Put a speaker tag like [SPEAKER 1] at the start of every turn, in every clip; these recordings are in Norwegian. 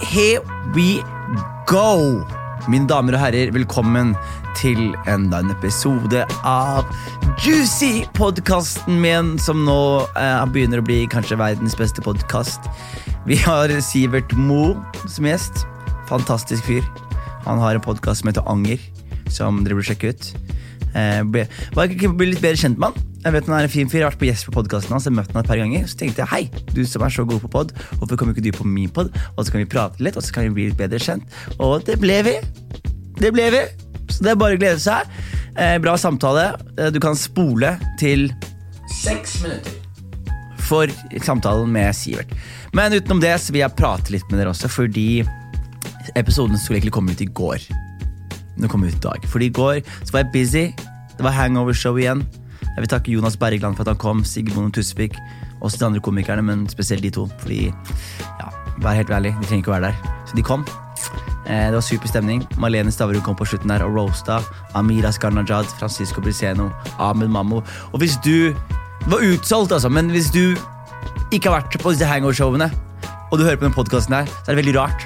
[SPEAKER 1] here we go! Mine damer og herrer, velkommen til enda en episode av Juicy! Podkasten min som nå eh, begynner å bli kanskje verdens beste podkast. Vi har Sivert Mo som gjest. Fantastisk fyr. Han har en podkast som heter Anger, som dere burde sjekke ut. Eh, ble, var ikke bli litt bedre kjent med han. Jeg vet han er en fin fyr, jeg har vært på gjest på podkasten hans. Jeg har møtt han et par ganger, Så tenkte jeg hei, du som er så god på pod, hvorfor kommer ikke du på min pod? Og så kan vi prate litt, og så kan vi bli litt bedre kjent. Og det ble vi. Det ble vi. Så det er bare å glede seg. Eh, bra samtale. Eh, du kan spole til seks minutter for samtalen med Sivert. Men utenom det så vil jeg prate litt med dere også, fordi episoden skulle egentlig komme ut i går. Den kom ut i dag. Fordi i går så var jeg busy. Det var hangover-show igjen. Jeg vil takke Jonas Bergland for at han kom, Sigmund og Tusvik. Også de andre komikerne, men spesielt de to. Fordi, ja, vær helt ærlig, de trenger ikke å være der. Så de kom. Eh, Det var super stemning. Malene Staverud kom på slutten der og roasta Amira Skarnajad, Francisco Briseno, Ahmed Mammo. Og hvis du Det var utsolgt, altså, men hvis du ikke har vært på disse hangover-showene, og du hører på den podkasten her, så er det veldig rart.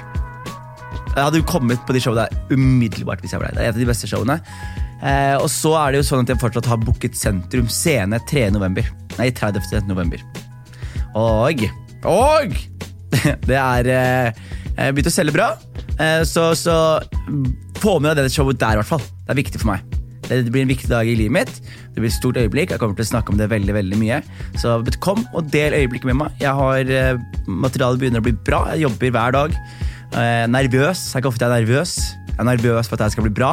[SPEAKER 1] Jeg hadde jo kommet på de showene der umiddelbart hvis jeg ble der. Det er et av de beste showene. Eh, og så er det jo sånn at jeg fortsatt har booket sentrum scene 3. november. Nei, 30. november. Og Og det er eh, jeg Begynte å selge bra, eh, så, så få med deg det showet der, i hvert fall. Det er viktig for meg. Det blir en viktig dag i livet mitt. Det blir et stort øyeblikk. Jeg kommer til å snakke om det veldig veldig mye. Så kom og del øyeblikket med meg. Jeg har eh, Materialet begynner å bli bra. Jeg jobber hver dag. Eh, nervøs. Det er ikke ofte jeg er nervøs. Jeg er nervøs for at det her skal bli bra.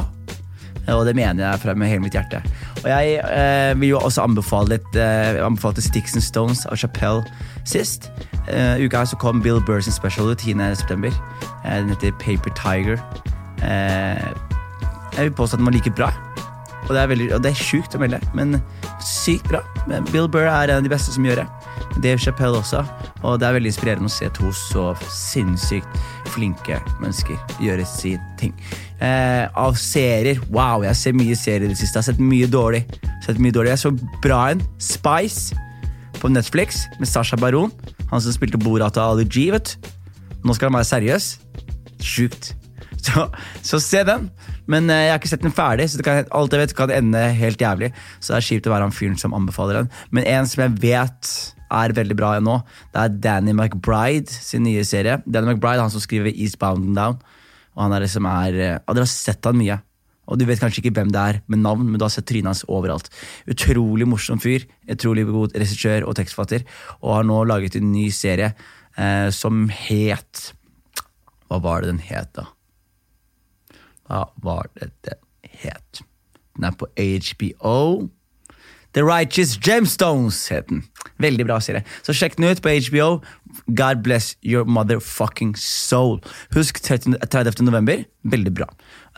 [SPEAKER 1] Eh, Og det mener jeg fra med hele mitt hjerte. Og jeg eh, vil jo også anbefale et, eh, anbefalte Sticks and Stones av Chapell sist. Eh, uka her så kom Bill Burr sin special ut 10.9. Eh, den heter Paper Tiger. Eh, jeg vil påstå at den var like bra. Og det er, veldig- og det er sjukt å melde, men sykt bra. Men Bill Burr er en av de beste som gjør det. Dave Chappelle også. Og det er veldig inspirerende å se to så sinnssykt flinke mennesker gjøre sin ting. Eh, av serier Wow, jeg ser mye serier i det siste. Jeg har sett mye dårlig. Sett mye dårlig. Jeg så bra en. Spice på Netflix med Sasha Baron. Han som spilte Borat og Ali G, vet du. Nå skal han være seriøs. Sjukt. Så, så se den. Men eh, jeg har ikke sett den ferdig, så det kan, alt jeg vet kan ende helt jævlig. Så det er kjipt å være han fyren som anbefaler den. Men en som jeg vet er veldig bra nå, det er Danny McBride sin nye serie. Danny McBride, Han som skriver Eastbound and Down. Og han er det som er, eh, og Dere har sett han mye. Og Du vet kanskje ikke hvem det er med navn, men du har sett trynet hans overalt. Utrolig morsom fyr. Utrolig god regissør og tekstforfatter. Og har nå laget en ny serie eh, som het Hva var det den het, da? Hva var det den het? Den er på HBO. The Righteous Gemstones het den. Veldig bra serie. Så sjekk den ut på HBO. God bless your motherfucking soul. Husk 30. 30. november. Veldig bra.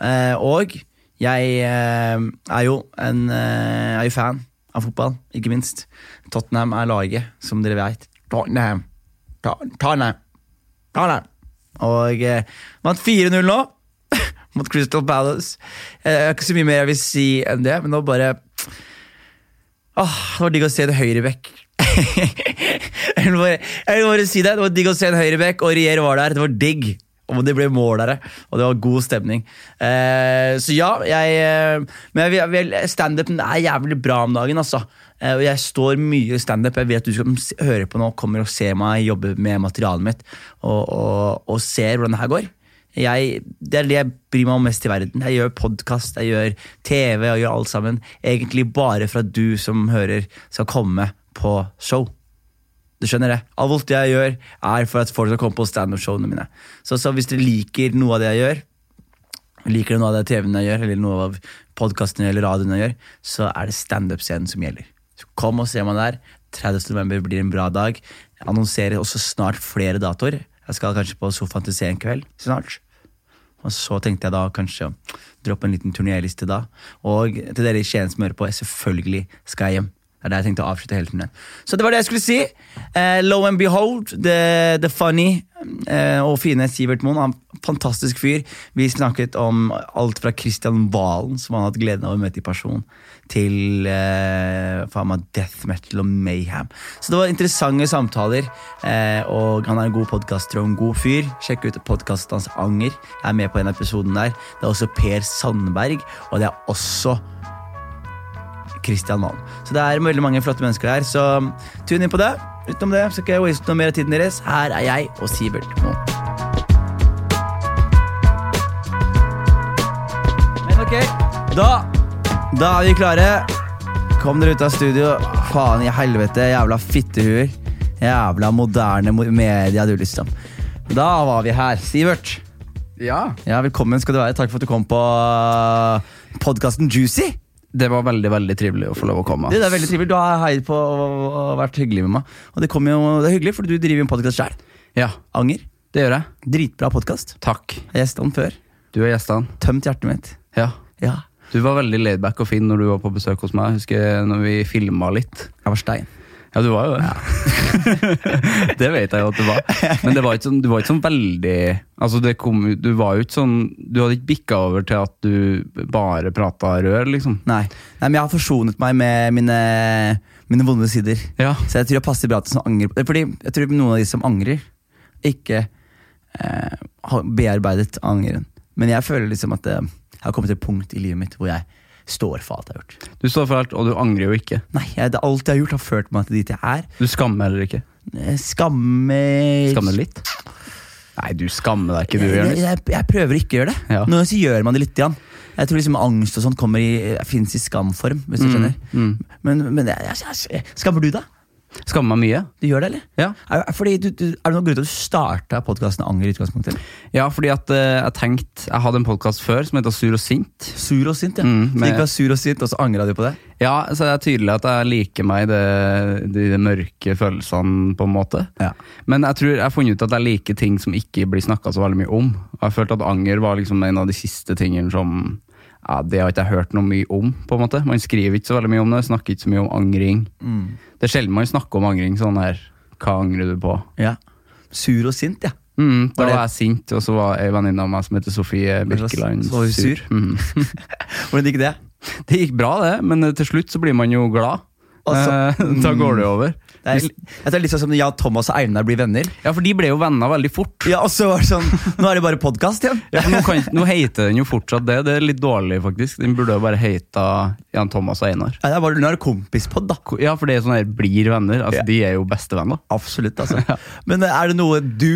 [SPEAKER 1] Eh, og jeg eh, er jo en eh, er jo fan av fotball, ikke minst. Tottenham er laget, som dere veit. Tottenham. Tot- Tottenham. Tottenham. Og eh, vant 4-0 nå mot Crystal Palace. Eh, Jeg har ikke så mye mer jeg vil si enn det, men nå bare Åh, Det var digg å se en høyreback. jeg, vil bare- jeg vil bare si det. Det var digg å se en høyreback, og Rier var der. Det var digg. Og det ble mål der, og det var god stemning. Eh, så ja, jeg eh, Men jeg vil- jeg vil- standupen er jævlig bra om dagen, altså. Eh, og jeg står mye i standup. Jeg vet du som s- hører på nå, kommer og ser meg jobbe med materialet mitt, og, og, og ser hvordan det her går. Jeg, det er det jeg bryr meg om mest i verden. Jeg gjør podkast, jeg gjør TV, jeg gjør alt sammen. Egentlig bare for at du som hører, skal komme på show. Du skjønner det? Alt jeg gjør, er for at folk skal komme på standup-showene mine. Så, så hvis dere liker noe av det jeg gjør, liker dere noe av det TV-en jeg gjør, eller noe av podkastene eller radioen jeg gjør, så er det standup-scenen som gjelder. Så kom og se meg der. 30. november blir en bra dag. Jeg annonserer også snart flere datoer. Jeg skal kanskje på sofaen til sen kveld snart. Og så tenkte jeg da kanskje å droppe en liten turnéliste da. Og til dere i Skien som hører på, selvfølgelig skal jeg hjem. Det er det jeg tenkte å avslutte hele turen. Så det var det jeg skulle si. Eh, low and behold, the, the funny eh, og fine Sivert Moen. Han er en fantastisk fyr. Vi snakket om alt fra Christian Valen, som han har hatt gleden av å møte i person, til eh, faen meg death metal og mayhem. Så det var interessante samtaler, eh, og han er en god podkaster og en god fyr. Sjekk ut podkasten hans Anger. Jeg er med på en av episoden der. Det er også Per Sandberg, og det er også Kristian Valen. Så det er veldig mange flotte mennesker her, så tune inn på det. Utenom det så skal jeg waste noe mer av tiden deres. Her er jeg og Sivert Moen. Men ok, da Da er vi klare. Kom dere ut av studio. Faen i helvete, jævla fittehuer. Jævla moderne mo- media du, liksom. Da var vi her. Sivert,
[SPEAKER 2] Ja,
[SPEAKER 1] ja, velkommen skal du være. Takk for at du kom på podkasten Juicy.
[SPEAKER 2] det var veldig, veldig trivelig å få lov å komme.
[SPEAKER 1] Du, det er veldig trivelig. Du har heiet på og, og vært hyggelig med meg. Og det, kommer jo, det er hyggelig, for du driver jo en podkast sjøl.
[SPEAKER 2] Ja,
[SPEAKER 1] Anger.
[SPEAKER 2] det gjør jeg.
[SPEAKER 1] Dritbra podkast.
[SPEAKER 2] Takk.
[SPEAKER 1] Jeg har gjestet den før.
[SPEAKER 2] Du er gjestene.
[SPEAKER 1] Tømt hjertet mitt.
[SPEAKER 2] Ja.
[SPEAKER 1] Ja.
[SPEAKER 2] Du var veldig laidback og fin når du var på besøk hos meg. Jeg Husker når vi filma litt.
[SPEAKER 1] Jeg var stein.
[SPEAKER 2] Ja, du var jo det. det vet jeg jo at du var. Men det var ikke sånn, du var ikke sånn veldig Altså, det kom jo Du var jo ikke sånn Du hadde ikke bikka over til at du bare prata rør, liksom.
[SPEAKER 1] Nei. Nei, men jeg har forsonet meg med mine, mine vonde sider.
[SPEAKER 2] Ja.
[SPEAKER 1] Så jeg tror jeg passer bra til som angrer. Fordi jeg tror noen av de som angrer, ikke eh, har bearbeidet angeren. Men jeg føler liksom at eh, jeg har kommet til et punkt i livet mitt hvor jeg står for alt jeg har gjort.
[SPEAKER 2] Du står for alt, og du angrer jo ikke.
[SPEAKER 1] Nei, jeg, det, Alt jeg har gjort, har ført meg til dit jeg er.
[SPEAKER 2] Du skammer heller ikke.
[SPEAKER 1] Eh, Skammer
[SPEAKER 2] Skammer litt? Nei, du skammer deg ikke, du,
[SPEAKER 1] jeg,
[SPEAKER 2] Jonis.
[SPEAKER 1] jeg, jeg prøver ikke å gjøre det.
[SPEAKER 2] Ja.
[SPEAKER 1] Noen ganger så gjør man det litt. Igjen. Jeg tror liksom angst og sånt kommer i, eh, finnes i skamform. Hvis du
[SPEAKER 2] Mm.
[SPEAKER 1] skjønner Men, men jeg, jeg, jeg, skammer du deg?
[SPEAKER 2] Skammer meg mye.
[SPEAKER 1] Du gjør det, eller?
[SPEAKER 2] Ja.
[SPEAKER 1] Er, er- fordi du, du, er det noen grunn til at du starta podkasten Anger i utgangspunktet?
[SPEAKER 2] Ja, fordi at eh, jeg tenkte Jeg hadde en podkast før som heter Sur og sint.
[SPEAKER 1] Sur og sint, ja.
[SPEAKER 2] Mm,
[SPEAKER 1] så du
[SPEAKER 2] men-
[SPEAKER 1] ikke var sur og sint, og så angra du på det?
[SPEAKER 2] Ja, så det er tydelig at jeg liker meg i det- de, de mørke følelsene, på en måte.
[SPEAKER 1] Ja.
[SPEAKER 2] Men jeg tror jeg har funnet ut at jeg liker ting som ikke blir snakka så veldig mye om. Og jeg følte at anger var liksom en av de siste tingene som ja, Det har ikke jeg hørt noe mye om, på en måte. Man skriver ikke så veldig mye om det, snakker ikke så mye om angring.
[SPEAKER 1] Mm.
[SPEAKER 2] Det er sjelden man snakker om angring sånn her Hva angrer du på?
[SPEAKER 1] ja. Sur og sint, ja.
[SPEAKER 2] Mm, da
[SPEAKER 1] Var
[SPEAKER 2] var,
[SPEAKER 1] det-
[SPEAKER 2] jeg sint, og så var ei venninne av meg som heter Sofie Birkeland
[SPEAKER 1] Så var hun sur?
[SPEAKER 2] Mm.
[SPEAKER 1] Hvordan gikk det?
[SPEAKER 2] Det gikk bra, det, men eh, til slutt så blir man jo glad.
[SPEAKER 1] Altså,
[SPEAKER 2] Eh, da går det jo over.
[SPEAKER 1] Det er, jeg tror litt sånn som ja, Thomas og Einar blir venner.
[SPEAKER 2] Ja, for de ble jo venner veldig fort.
[SPEAKER 1] Ja, Og så var det sånn Nå er det bare podkast igjen!
[SPEAKER 2] Ja, for nå, kan, nå heter den jo fortsatt det. Det er litt dårlig, faktisk. Den burde jo bare heta Jan Thomas og Einar.
[SPEAKER 1] Ja, det er bare, nå er det kompispod, da.
[SPEAKER 2] Ko- Ja, for det er sånn her blir venner. Altså,
[SPEAKER 1] Ja.
[SPEAKER 2] De er jo bestevenner.
[SPEAKER 1] Absolutt, altså. Men er det noe du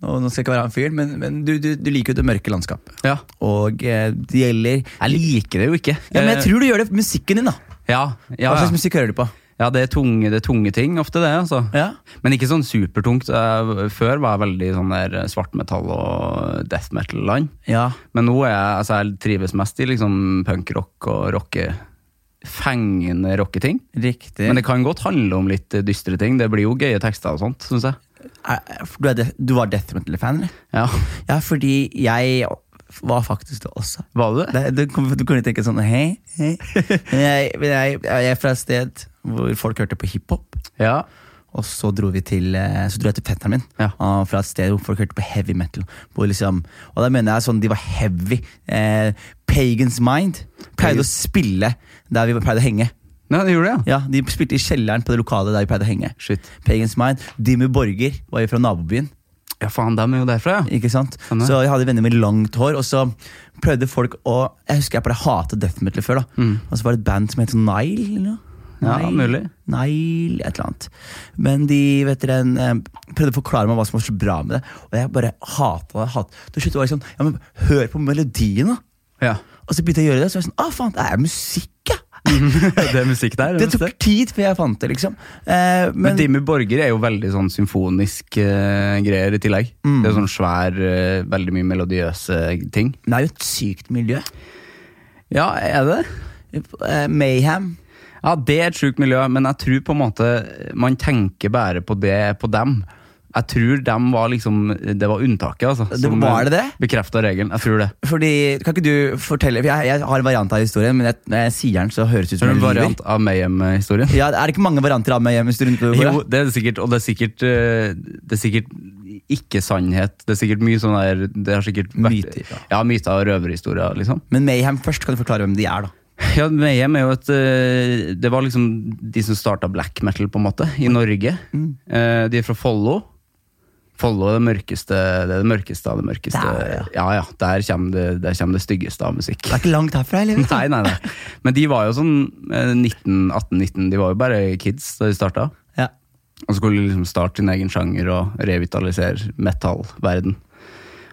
[SPEAKER 1] Nå, nå skal jeg ikke være han fyren, men, men du, du, du liker jo det mørke landskapet.
[SPEAKER 2] Ja.
[SPEAKER 1] Og eh, det gjelder ja,
[SPEAKER 2] Jeg liker det jo ikke.
[SPEAKER 1] Men jeg
[SPEAKER 2] Eh,
[SPEAKER 1] tror du gjør det med musikken din, da.
[SPEAKER 2] ja, ja,
[SPEAKER 1] Hva slags
[SPEAKER 2] ja.
[SPEAKER 1] musikk hører du på?
[SPEAKER 2] ja det, er tunge, det er tunge ting ofte, det. altså.
[SPEAKER 1] Ja.
[SPEAKER 2] Men ikke sånn supertungt. Eh, Før var jeg veldig sånn der svartmetall og death metal-land.
[SPEAKER 1] ja.
[SPEAKER 2] Men nå er jeg, altså, jeg trives mest i liksom punkrock og rocke fengende rocketing.
[SPEAKER 1] Riktig.
[SPEAKER 2] Men det kan godt handle om litt eh, dystre ting. Det blir jo gøye tekster og sånt, syns jeg.
[SPEAKER 1] er, er- eh, du, er de, du var Death Metal-fan, eller?
[SPEAKER 2] Ja,
[SPEAKER 1] Ja, fordi jeg var faktisk det også.
[SPEAKER 2] Var du det?
[SPEAKER 1] Det, du, kom- du kunne tenke sånn hei, hei. Men Jeg, men jeg, jeg er fra et sted hvor folk hørte på hiphop.
[SPEAKER 2] Ja.
[SPEAKER 1] Og så dro vi til eh, Så dro jeg til fetteren min
[SPEAKER 2] Ja.
[SPEAKER 1] ah, fra et sted hvor folk hørte på heavy metal. Hvor liksom, og da mener jeg sånn de var heavy. Eh, Pagans Mind pleide å spille der vi pleide å henge.
[SPEAKER 2] Nei, det gjorde det,
[SPEAKER 1] Ja,
[SPEAKER 2] ja.
[SPEAKER 1] De spilte i kjelleren på det lokalet der vi pleide å henge.
[SPEAKER 2] Shit.
[SPEAKER 1] Pagans Mind, Dimmu Borger var jo fra nabobyen.
[SPEAKER 2] Ja, faen, dem er jo derfra, Sånn, ja.
[SPEAKER 1] Ikke sant?
[SPEAKER 2] Stemmer.
[SPEAKER 1] Så jeg hadde venner med langt hår, og så prøvde folk å Jeg husker jeg pleide å hate death metal før, da.
[SPEAKER 2] Mm.
[SPEAKER 1] Og så var det et band som het Nile, eller noe.
[SPEAKER 2] Ja, mulig.
[SPEAKER 1] Nile, et eller annet. Men de vet dere, en, eh, prøvde å forklare meg hva som var så bra med det, og jeg bare hata det. Hat. Til slutt var jeg sånn Ja, men hør på melodien, da!
[SPEAKER 2] ja.
[SPEAKER 1] Og så begynte jeg å gjøre det, og så var jeg sånn Å, ah, faen, det er musikk, ja!
[SPEAKER 2] det er musikk der.
[SPEAKER 1] Det tok tid før jeg fant det, liksom. Eh,
[SPEAKER 2] Men
[SPEAKER 1] men,
[SPEAKER 2] Dimmu Borger er jo veldig sånn symfonisk eh, greier i tillegg. Det er sånn svær, eh, veldig mye melodiøse ting.
[SPEAKER 1] det er jo et sykt miljø.
[SPEAKER 2] Ja, er det?
[SPEAKER 1] Eh, Mayhem.
[SPEAKER 2] Ja, det er et sjukt miljø, men jeg tror på en måte man tenker bare på det på dem. Jeg tror dem var liksom, det var unntaket, altså.
[SPEAKER 1] Det var det det?
[SPEAKER 2] Bekrefta regelen. Jeg tror det.
[SPEAKER 1] Fordi, kan ikke du fortelle for jeg, jeg har en variant av historien, men jeg, når jeg sier den, så høres det ut
[SPEAKER 2] Det
[SPEAKER 1] som
[SPEAKER 2] er
[SPEAKER 1] jeg
[SPEAKER 2] en
[SPEAKER 1] lyver.
[SPEAKER 2] variant av Mayhem-historien.
[SPEAKER 1] Ja, er det ikke mange varianter av meg hjemme rundt bordet?
[SPEAKER 2] Jo, det er det sikkert, og det er sikkert, eh, det er sikkert ikke sannhet. Det er sikkert mye sånn der det har sikkert vært,
[SPEAKER 1] Myter, ja.
[SPEAKER 2] Ja, myter og røverhistorier, liksom.
[SPEAKER 1] Men Mayhem først, kan du forklare hvem de er, da?
[SPEAKER 2] Ja, Mayhem er jo et eh, Det var liksom de som starta black metal, på en måte, i Norge.
[SPEAKER 1] Mm.
[SPEAKER 2] Eh, De er fra Follo. Follo er det mørkeste det er det mørkeste av det mørkeste.
[SPEAKER 1] Der, ja.
[SPEAKER 2] ja, ja. Der kommer det, der kommer det styggeste av musikk.
[SPEAKER 1] Det er ikke langt herfra, eller?
[SPEAKER 2] Nei, nei, nei. Men de var jo sånn 18-19, de var jo bare kids da de starta.
[SPEAKER 1] Ja.
[SPEAKER 2] Og skulle liksom starte sin egen sjanger og revitalisere metallverden.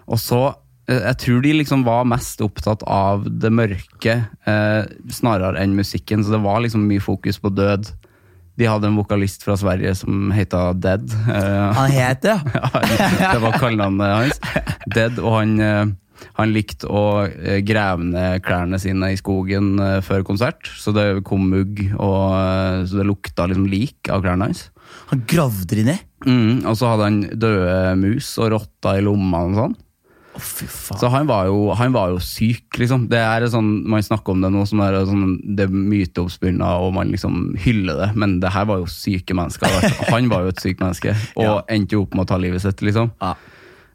[SPEAKER 2] Og så, eh, jeg tror de liksom var mest opptatt av det mørke eh, snarere enn musikken, så det var liksom mye fokus på død. De hadde en vokalist fra Sverige som heta Dead. Eh,
[SPEAKER 1] Han het det, ja.
[SPEAKER 2] ja, det var kallenavnet hans. Dead, og han, eh, han likte å eh, grave ned klærne sine i skogen eh, før konsert, så det kom mugg, og, eh, så det lukta liksom lik av klærne hans.
[SPEAKER 1] Han gravde de ned.
[SPEAKER 2] Mm, og så hadde han døde mus og rotta i lommene og sånn.
[SPEAKER 1] Å, fy faen.
[SPEAKER 2] Så han var jo, han var jo syk, liksom. Det er sånn, Man snakker om det nå som det er sånn, det er myteoppspunna, og man liksom hyller det, men det her var jo syke mennesker. altså. Han var jo et sykt menneske, og
[SPEAKER 1] Ja.
[SPEAKER 2] endte jo opp med å ta livet sitt, liksom.
[SPEAKER 1] Ja.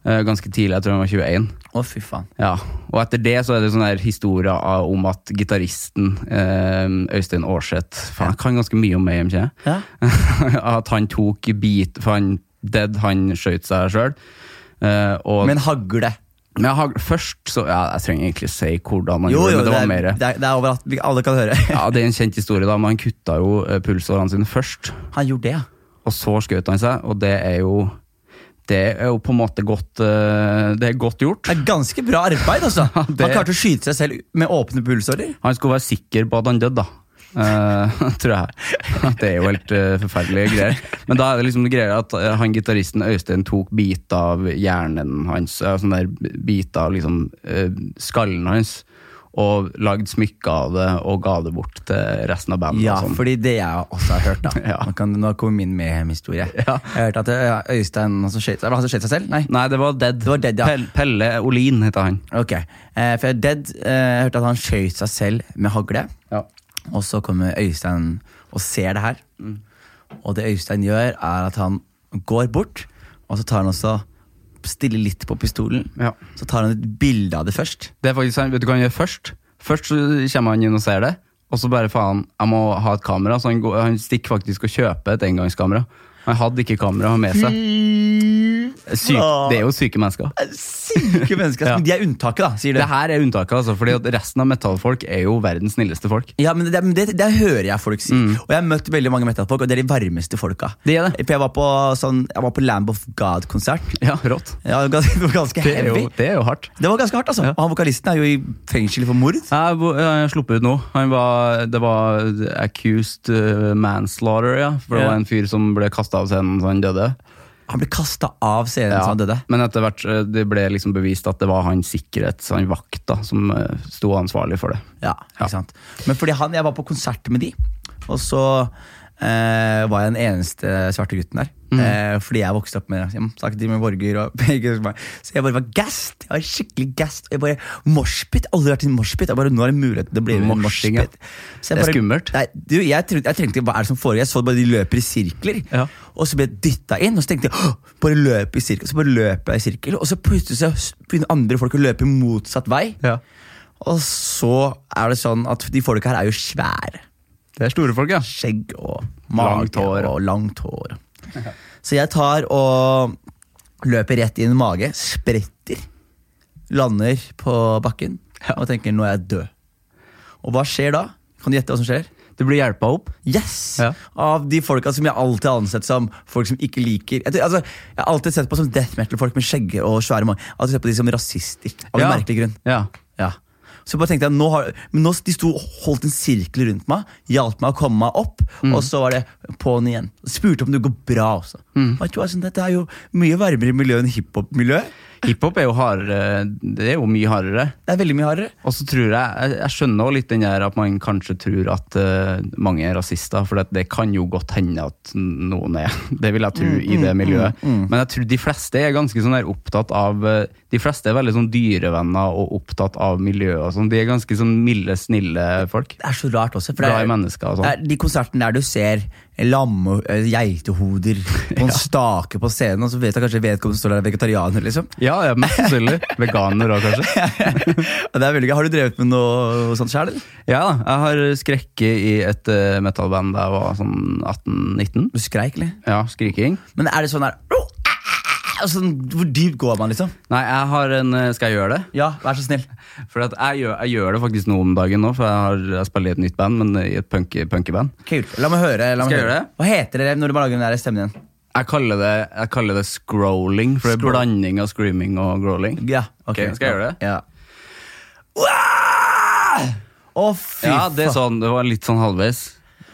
[SPEAKER 2] Eh, Ganske tidlig, jeg tror han var 21.
[SPEAKER 1] Å, fy faen.
[SPEAKER 2] Ja, Og etter det så er det sånne her historier av- om at gitaristen eh, Øystein Aarseth Faen, jeg kan ganske mye om Mayhem, ikke jeg?
[SPEAKER 1] Ja.
[SPEAKER 2] at han tok bit For han dead, han skjøt seg sjøl. Eh, og-
[SPEAKER 1] Med en hagle.
[SPEAKER 2] men jeg har, først så ja, Jeg trenger egentlig si hvordan han
[SPEAKER 1] Jo,
[SPEAKER 2] gjorde
[SPEAKER 1] jo,
[SPEAKER 2] men det, var mer.
[SPEAKER 1] er, det, er, det er overalt. Vi- Alle kan høre.
[SPEAKER 2] Ja, det er en kjent historie, da, men han kutta jo eh, pulsårene sine først.
[SPEAKER 1] Han gjorde det, ja.
[SPEAKER 2] Og så skjøt han seg, og det er jo Det er jo på en måte godt eh, Det er godt gjort.
[SPEAKER 1] Det er ganske bra arbeid, altså.
[SPEAKER 2] det-
[SPEAKER 1] Han klarte å skyte seg selv med åpne pulsårer.
[SPEAKER 2] Han skulle være sikker på at han døde, da. Eh, tror jeg. Det er jo helt eh, forferdelige greier. Men da er det liksom greier at eh, han gitaristen Øystein tok bit av hjernen hans, eh, sånn der bit av liksom eh, skallen hans, og lagde smykker av det og ga det bort til resten av bandet.
[SPEAKER 1] Ja,
[SPEAKER 2] og sånn.
[SPEAKER 1] fordi det jeg også har hørt, da.
[SPEAKER 2] Ja.
[SPEAKER 1] Nå kan, nå kommer min Mayhem-historie.
[SPEAKER 2] Ja.
[SPEAKER 1] Jeg har hørt at ja, Øystein han som skjøt seg, var det han som skjøt seg selv? Nei.
[SPEAKER 2] Nei, det var Dead.
[SPEAKER 1] Det var Dead, ja.
[SPEAKER 2] Pelle, Pelle Olin heter han.
[SPEAKER 1] Ok. Eh, for jeg er dead. Eh, jeg hørte at han skjøt seg selv med hagle. Og så kommer Øystein og ser det her.
[SPEAKER 2] Mm.
[SPEAKER 1] Og det Øystein gjør, er at han går bort, og så tar han også stille litt på pistolen.
[SPEAKER 2] Ja.
[SPEAKER 1] Så tar han et bilde av det først.
[SPEAKER 2] Det er faktisk sant. Vet du hva han gjør først? Først så kommer han inn og ser det, og så bare faen, jeg må ha et kamera. Så han, går, han stikker faktisk og kjøper et engangskamera. Han hadde ikke kamera med seg. Syk, det er jo syke mennesker.
[SPEAKER 1] Syke mennesker!
[SPEAKER 2] Ja.
[SPEAKER 1] De er unntaket, da, sier du.
[SPEAKER 2] Det her er unntaket, altså, fordi at resten av metallfolk er jo verdens snilleste folk.
[SPEAKER 1] Ja, men det, men det, det hører jeg folk si. Og jeg har møtt veldig mange metalfolk, og det er de varmeste folka.
[SPEAKER 2] Mm. Det er det.
[SPEAKER 1] For jeg var på, sånn, jeg var på Lamb of God-konsert.
[SPEAKER 2] Ja, rått.
[SPEAKER 1] Ja, det var gans- det var ganske
[SPEAKER 2] Det er
[SPEAKER 1] heavy.
[SPEAKER 2] jo, det er jo hardt.
[SPEAKER 1] Det var ganske hardt, altså. Og han vokalisten er jo i fengsel for mord.
[SPEAKER 2] Jeg bo- jeg har sluppet ut nå. Han var, det var accused eh, manslaughter, ja. For det
[SPEAKER 1] Ja.
[SPEAKER 2] var en fyr som ble kasta av scenen så han døde.
[SPEAKER 1] Han ble kasta av scenen
[SPEAKER 2] Ja,
[SPEAKER 1] så han døde.
[SPEAKER 2] Men etter hvert eh, det ble liksom bevist at det var han sikkerhets, han vakta, som eh, sto ansvarlig for det.
[SPEAKER 1] Ja,
[SPEAKER 2] Ja.
[SPEAKER 1] ikke sant Men fordi han, jeg var på konsert med de Og så eh, var jeg den eneste svarte gutten der
[SPEAKER 2] Mm.
[SPEAKER 1] eh, Fordi jeg vokste opp med jeg Snakket med borger og begge som var- Så jeg bare var gassed Jeg var skikkelig gassed Og jeg bare morspit Aldri vært i en morspit Jeg bare, nå er det mulighet til å bli med i en
[SPEAKER 2] Morsing, ja.
[SPEAKER 1] morspit Så jeg
[SPEAKER 2] Det er skummelt.
[SPEAKER 1] Nei, du, jeg, trengte, jeg trengte Hva er det som foregår? Jeg så bare de løper i sirkler
[SPEAKER 2] Ja.
[SPEAKER 1] Og så ble jeg dyttet inn Og så tenkte jeg «Åh, Bare løp i sirkel Så bare løper jeg i sirkel Og så plutselig så begynner andre folk Å løpe motsatt vei og så er det sånn at de folka her er jo svære.
[SPEAKER 2] Det er store folk, ja.
[SPEAKER 1] Skjegg og
[SPEAKER 2] Langt
[SPEAKER 1] mage
[SPEAKER 2] hår.
[SPEAKER 1] og langt hår. Så jeg tar og løper rett inn i mage, spretter, lander på bakken og tenker nå er jeg død. Og hva skjer da? Kan du gjette hva som skjer?
[SPEAKER 2] Du blir hjelpa opp.
[SPEAKER 1] Yes!
[SPEAKER 2] Ja.
[SPEAKER 1] Av de folka som jeg alltid har ansett som folk som ikke liker Jeg, tror- altså, jeg har alltid sett på som death metal-folk med skjegge og svære mage. Jeg har Alltid sett på de som rasister. Av en
[SPEAKER 2] Ja.
[SPEAKER 1] merkelig grunn.
[SPEAKER 2] Ja.
[SPEAKER 1] Ja. Så bare tenkte jeg, nå har, men nå, De sto og holdt en sirkel rundt meg, hjalp meg å komme meg opp. Og så var det på'n igjen. Spurte om det går bra også. Vet du hva, sånn, Dette er jo mye varmere miljø enn hiphop-miljøet.
[SPEAKER 2] Hiphop er jo hardere, det er jo mye hardere.
[SPEAKER 1] Det er veldig mye hardere.
[SPEAKER 2] Og så tror jeg, jeg, jeg skjønner også litt den der at man kanskje tror at eh, mange er rasister, for det, det kan jo godt hende at noen er. Det vil jeg tro i det miljøet. Men jeg tror de fleste er ganske sånn der opptatt av eh, De fleste er veldig sånn dyrevenner og opptatt av miljøet og sånn. De er ganske sånn milde, snille folk.
[SPEAKER 1] Det er så rart også. For det
[SPEAKER 2] Glad i
[SPEAKER 1] er,
[SPEAKER 2] mennesker og sånn.
[SPEAKER 1] det er de konsertene der du ser lamme, eh, geitehoder på en stake på scenen, og så vet jeg kanskje vedkommende står der er vegetarianer, liksom.
[SPEAKER 2] Ja, ja, mest sannsynlig. Veganer òg, kanskje.
[SPEAKER 1] Og det er veldig gøy. Har du drevet med noe sånt sjøl?
[SPEAKER 2] Ja da. Jeg har skrekket i et eh, metalband da jeg var sånn 18-19.
[SPEAKER 1] Du skreik, eller?
[SPEAKER 2] Ja, skriking.
[SPEAKER 1] Men er det sånn der «Au, ah, ah», og sånn, Hvor dypt går man, liksom?
[SPEAKER 2] Nei, jeg har en eh, Skal jeg gjøre det?
[SPEAKER 1] Ja, vær så snill.
[SPEAKER 2] For at jeg, gjør, jeg gjør det faktisk nå om dagen, nå, for jeg, har, jeg spiller i et nytt band, men i et punk- punkeband.
[SPEAKER 1] Kult. La meg høre. La meg
[SPEAKER 2] Skal jeg
[SPEAKER 1] høre.
[SPEAKER 2] gjøre det?
[SPEAKER 1] Hva heter det når du bare lager den der stemmen igjen?
[SPEAKER 2] Jeg kaller det, jeg kaller det scrolling, for det er
[SPEAKER 1] Scroll.
[SPEAKER 2] blanding av screaming og growling.
[SPEAKER 1] Ja,
[SPEAKER 2] Ok, skal jeg gjøre det?
[SPEAKER 1] Ja. Uah! Å, fy
[SPEAKER 2] Ja, det, er
[SPEAKER 1] faen.
[SPEAKER 2] sånn, det var litt sånn halvveis,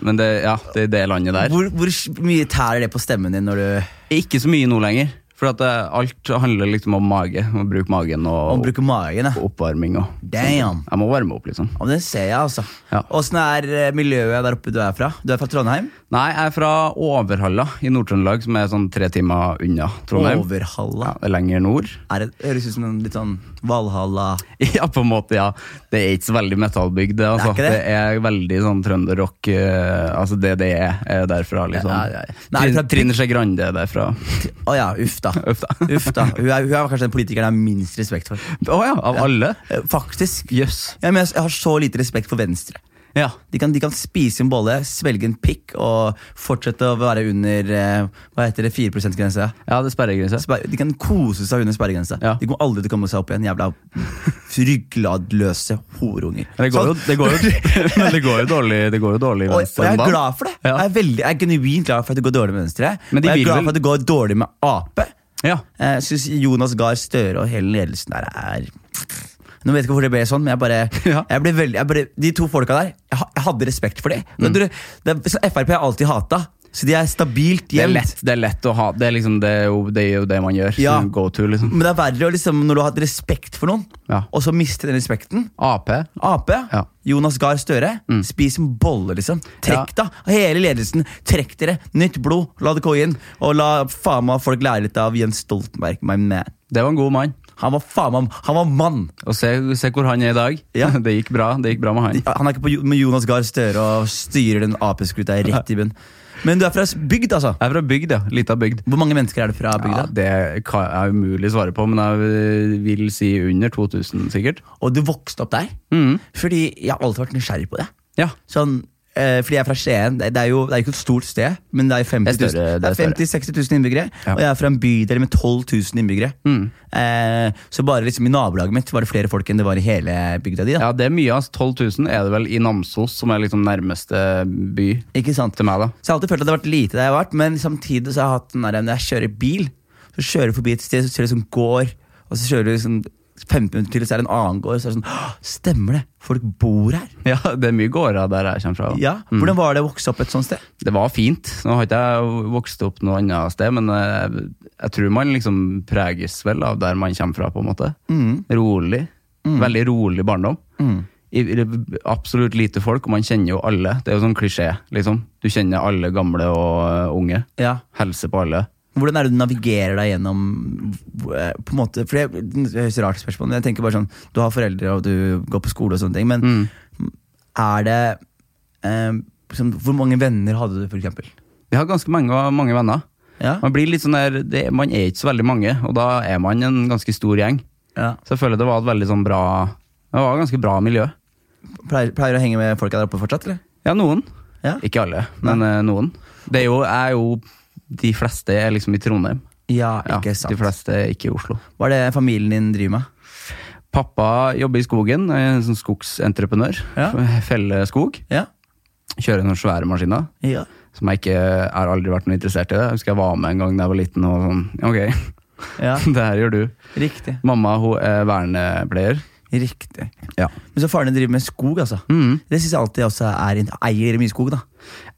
[SPEAKER 2] men det, ja, det er det landet der.
[SPEAKER 1] Hvor, hvor mye tærer det på stemmen din når du
[SPEAKER 2] Ikke så mye nå lenger, for at eh, alt handler liksom om mage, om å bruke magen og,
[SPEAKER 1] man bruker magen?
[SPEAKER 2] og
[SPEAKER 1] Ja.
[SPEAKER 2] oppvarming. Og,
[SPEAKER 1] Damn!
[SPEAKER 2] jeg må varme opp, liksom.
[SPEAKER 1] Ja, men det ser jeg, altså.
[SPEAKER 2] Ja.
[SPEAKER 1] Åssen er eh, miljøet der oppe du er fra? Du er fra Trondheim?
[SPEAKER 2] Nei, jeg er fra Overhalla i Nord-Trøndelag, som er sånn tre timer unna Trondheim.
[SPEAKER 1] Overhalla?
[SPEAKER 2] Ja, det er lenger nord.
[SPEAKER 1] Er det, høres ut som en litt sånn Valhalla
[SPEAKER 2] Ja, på en måte, ja. Det er ikke så veldig metallbygd, det. Altså.
[SPEAKER 1] Det er ikke det?
[SPEAKER 2] er veldig sånn trønderrock. eh, altså det det er, er derfra, liksom.
[SPEAKER 1] Ja, ja, ja. Nei,
[SPEAKER 2] Trin-
[SPEAKER 1] fra-
[SPEAKER 2] Trine Skei Grande er derfra.
[SPEAKER 1] Å ja, uff da.
[SPEAKER 2] Uff da.
[SPEAKER 1] Uff da. Hun er, hun er kanskje den politikeren jeg har minst respekt for.
[SPEAKER 2] Å ja, av alle?
[SPEAKER 1] Eh, Faktisk.
[SPEAKER 2] Jøss.
[SPEAKER 1] Ja, men jeg jeg har så lite respekt for Venstre.
[SPEAKER 2] Ja.
[SPEAKER 1] De kan, de kan spise en bolle, svelge en pikk og fortsette å være under eh, Hva heter det, 4 %-grensa.
[SPEAKER 2] ja, det er sperregrense.
[SPEAKER 1] Sper- De kan kose seg under sperregrensa.
[SPEAKER 2] Ja.
[SPEAKER 1] De kommer aldri til å komme seg opp igjen, jævla ryggladløse horunger.
[SPEAKER 2] Men det går, jo,
[SPEAKER 1] Sånn.
[SPEAKER 2] det, går jo, men det går jo dårlig Det går jo dårlig i
[SPEAKER 1] Og og
[SPEAKER 2] venstre
[SPEAKER 1] jeg
[SPEAKER 2] om
[SPEAKER 1] er
[SPEAKER 2] dagen.
[SPEAKER 1] glad for det.
[SPEAKER 2] Ja.
[SPEAKER 1] Jeg er, veldig, jeg er genuint glad for at det går dårlig med Venstre.
[SPEAKER 2] Men
[SPEAKER 1] og
[SPEAKER 2] de
[SPEAKER 1] jeg
[SPEAKER 2] vil
[SPEAKER 1] er glad
[SPEAKER 2] vel-
[SPEAKER 1] for at det går dårlig med Ap.
[SPEAKER 2] Ja.
[SPEAKER 1] Jeg syns Eh, Jonas Gahr Støre og hele ledelsen der er Nå vet jeg ikke hvorfor det ble sånn, men jeg bare,
[SPEAKER 2] Ja.
[SPEAKER 1] jeg ble veldig, jeg ble, De to folka der, jeg, ha- jeg hadde respekt for dem. Mm. Det, er- så Frp har jeg alltid hata, så de er stabilt
[SPEAKER 2] Det er
[SPEAKER 1] jevnt.
[SPEAKER 2] lett, det er lett å ha. Det er, liksom, det, er jo, det er jo det man gjør.
[SPEAKER 1] Ja.
[SPEAKER 2] Sånn Go to, liksom.
[SPEAKER 1] Men det er verre å liksom, når du har hatt respekt for noen,
[SPEAKER 2] Ja.
[SPEAKER 1] og så miste den respekten.
[SPEAKER 2] Ap.
[SPEAKER 1] Ap,
[SPEAKER 2] Ja. Mm.
[SPEAKER 1] Jonas Gahr Støre. Spis en bolle, liksom. Trekk da, hele ledelsen. Trekk dere. Nytt blod. La det gå inn. Og la faen meg folk lære litt av Jens Stoltenberg, my man.
[SPEAKER 2] Det var en god mann.
[SPEAKER 1] Han var faen meg Han var mann!
[SPEAKER 2] Og se, se hvor han er i dag.
[SPEAKER 1] Ja.
[SPEAKER 2] Det gikk bra Det gikk bra med han.
[SPEAKER 1] Han er ikke på, Jo- med Jonas Gahr Støre og styrer den apeskruta rett i bunn. Men du er fra bygd, altså?
[SPEAKER 2] Jeg er fra bygd, ja. Lita bygd.
[SPEAKER 1] Hvor mange mennesker er det fra
[SPEAKER 2] Ja,
[SPEAKER 1] bygda?
[SPEAKER 2] det kan jeg umulig svare på, men jeg eh, vil si under 2000 sikkert.
[SPEAKER 1] Og du vokste opp der?
[SPEAKER 2] Mhm.
[SPEAKER 1] Fordi jeg har alltid vært nysgjerrig på det.
[SPEAKER 2] Ja.
[SPEAKER 1] Sånn, eh, fordi jeg er fra Skien. Det, det er jo det er ikke et stort sted, men det er 50
[SPEAKER 2] Det er
[SPEAKER 1] 000,
[SPEAKER 2] større, det er
[SPEAKER 1] det er 50 60 000 innbyggere.
[SPEAKER 2] Ja. Mm.
[SPEAKER 1] Og jeg er fra en bydel med 12 000 innbyggere. Eh, så bare liksom i nabolaget mitt var det flere folk enn det var i hele bygda di. da
[SPEAKER 2] ja, det er mye. Altså, 12 000 er det vel i Namsos, som er liksom nærmeste by
[SPEAKER 1] Ikke sant?
[SPEAKER 2] til meg. da.
[SPEAKER 1] Så jeg har alltid følt at det har vært lite der jeg har vært, men samtidig så har jeg hatt den der når jeg kjører bil, så kjører jeg forbi et sted, så ser det som gård, og så kjører du sånn 15 minutter til, så er det en annen gård, så er det sånn «Åh, Stemmer det! Folk bor her!
[SPEAKER 2] Ja, Det er mye gårder der jeg kommer fra. da.
[SPEAKER 1] Ja, Mm. Hvordan var det å vokse opp et sånt sted?
[SPEAKER 2] Det var fint. Nå har ikke jeg vokst opp noe annet sted, men jeg, jeg tror man liksom preges vel av der man kommer fra, på en måte.
[SPEAKER 1] Mm.
[SPEAKER 2] Rolig. Veldig rolig barndom. I, i, absolutt lite folk, og man kjenner jo alle. Det er jo sånn klisjé, liksom. Du kjenner alle gamle og eh, unge.
[SPEAKER 1] Ja
[SPEAKER 2] Helse på alle.
[SPEAKER 1] Hvordan er det du navigerer deg gjennom eh, på en måte, for Det det høres rart spørsmål, men jeg tenker bare sånn Du har foreldre, og du går på skole, og sånne ting, men Mm. er det eh, liksom, Hvor mange venner hadde du, for eksempel?
[SPEAKER 2] Jeg har ganske mange, mange venner.
[SPEAKER 1] Ja?
[SPEAKER 2] Man blir litt sånn der, det, man er ikke så veldig mange, og da er man en ganske stor gjeng.
[SPEAKER 1] ja.
[SPEAKER 2] Så jeg føler det var et veldig sånn bra Det var et ganske bra miljø.
[SPEAKER 1] Pleier, pleier du å henge med folka der oppe fortsatt, eller?
[SPEAKER 2] Ja, noen.
[SPEAKER 1] Ja.
[SPEAKER 2] Ikke alle, men eh, noen. Det er jo, er jo De fleste er liksom i Trondheim.
[SPEAKER 1] Ja,
[SPEAKER 2] Ja,
[SPEAKER 1] ikke sant.
[SPEAKER 2] De fleste er ikke i Oslo.
[SPEAKER 1] Hva er det familien din driver med?
[SPEAKER 2] Pappa jobber i skogen, er en sånn skogsentreprenør.
[SPEAKER 1] Ja.
[SPEAKER 2] F- Feller skog.
[SPEAKER 1] Ja.
[SPEAKER 2] Kjører noen svære maskiner.
[SPEAKER 1] ja.
[SPEAKER 2] Som jeg ikke jeg har aldri vært noe interessert i. det. Jeg husker jeg var med en gang da jeg var liten og sånn Ok,
[SPEAKER 1] ja.
[SPEAKER 2] det her gjør du.
[SPEAKER 1] Riktig.
[SPEAKER 2] Mamma hun er vernepleier
[SPEAKER 1] Riktig.
[SPEAKER 2] Ja.
[SPEAKER 1] Men så faren din driver med skog, altså.
[SPEAKER 2] Mm.
[SPEAKER 1] Det syns jeg alltid også er inn- Eier mye skog, da.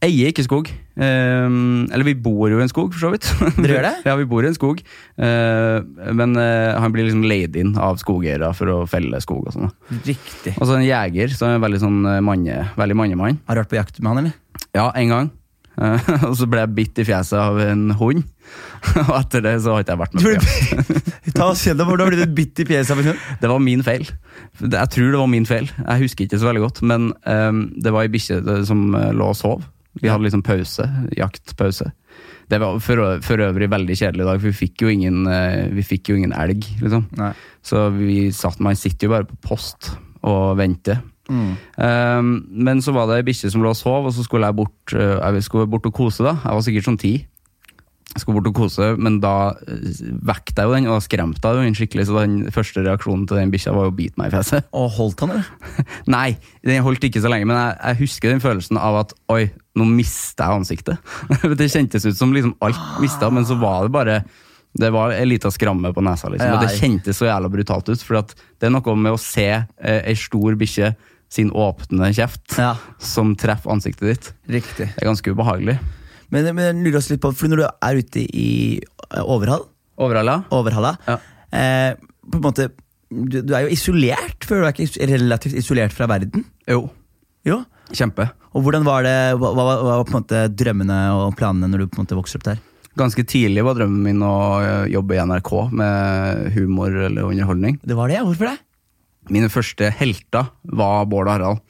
[SPEAKER 2] Eier ikke skog. Ehm, eller vi bor jo i en skog, for så vidt.
[SPEAKER 1] Dere gjør det?
[SPEAKER 2] ja, vi bor i en skog. Eh, men eh, han blir liksom leid inn av skogeiere for å felle skog og sånn. da.
[SPEAKER 1] Riktig.
[SPEAKER 2] Og så en jeger, så er han veldig sånn eh, manne, veldig mannemann.
[SPEAKER 1] Har du vært på jakt med han, eller?
[SPEAKER 2] Ja, en gang. Eh, og så ble jeg bitt i fjeset av en hund. og etter det så har ikke jeg vært med på jakt.
[SPEAKER 1] Ta oss gjennom hvordan ble du bitt i fjeset av en hund?
[SPEAKER 2] Det var min feil. Jeg tror det var min feil. Jeg husker ikke så veldig godt. Men ehm, det var ei bikkje eh, som eh, lå og sov. Vi hadde liksom pause. Jaktpause. Det var for, ø- for øvrig veldig kjedelig i dag, for vi fikk jo ingen, eh, vi fikk jo ingen elg. liksom.
[SPEAKER 1] Nei.
[SPEAKER 2] Så vi satt, man sitter jo bare på post og venter.
[SPEAKER 1] Mm.
[SPEAKER 2] Ehm, men så var det ei bikkje som lå og sov, og så skulle jeg bort, eh, jeg skulle bort og kose. da. Jeg var sikkert sånn ti. Jeg skulle bort og kose, men da eh, vekte jeg jo den, og da skremte jeg jo den skikkelig. Så den første reaksjonen til den bikkja var jo å bite meg i fjeset.
[SPEAKER 1] Og holdt han, eller?
[SPEAKER 2] Nei, den holdt ikke så lenge, men jeg, jeg husker den følelsen av at oi, nå mister jeg ansiktet. det kjentes ut som liksom alt mista, men så var det bare det var en liten skramme på nesa. liksom, og Det
[SPEAKER 1] Ja.
[SPEAKER 2] kjentes så jævla brutalt ut. For at det er noe med å se eh, ei stor bikkje sin åpne kjeft
[SPEAKER 1] Ja.
[SPEAKER 2] som treffer ansiktet ditt.
[SPEAKER 1] Riktig.
[SPEAKER 2] Det er ganske ubehagelig.
[SPEAKER 1] Men, men jeg lurer oss litt på, for når du er ute i eh, overhall,
[SPEAKER 2] Overhalla?
[SPEAKER 1] overhalla
[SPEAKER 2] Ja.
[SPEAKER 1] eh, På en måte du, du er jo isolert, for du er ikke is- relativt isolert fra verden.
[SPEAKER 2] Jo.
[SPEAKER 1] Jo.
[SPEAKER 2] Kjempe.
[SPEAKER 1] Og hvordan var det, hva, hva, hva var på en måte drømmene og planene når du på en måte vokser opp der?
[SPEAKER 2] Ganske tidlig var drømmen min å eh, jobbe i NRK med humor eller underholdning.
[SPEAKER 1] Det var det, ja. Hvorfor det?
[SPEAKER 2] Mine første helter var Bård og Harald.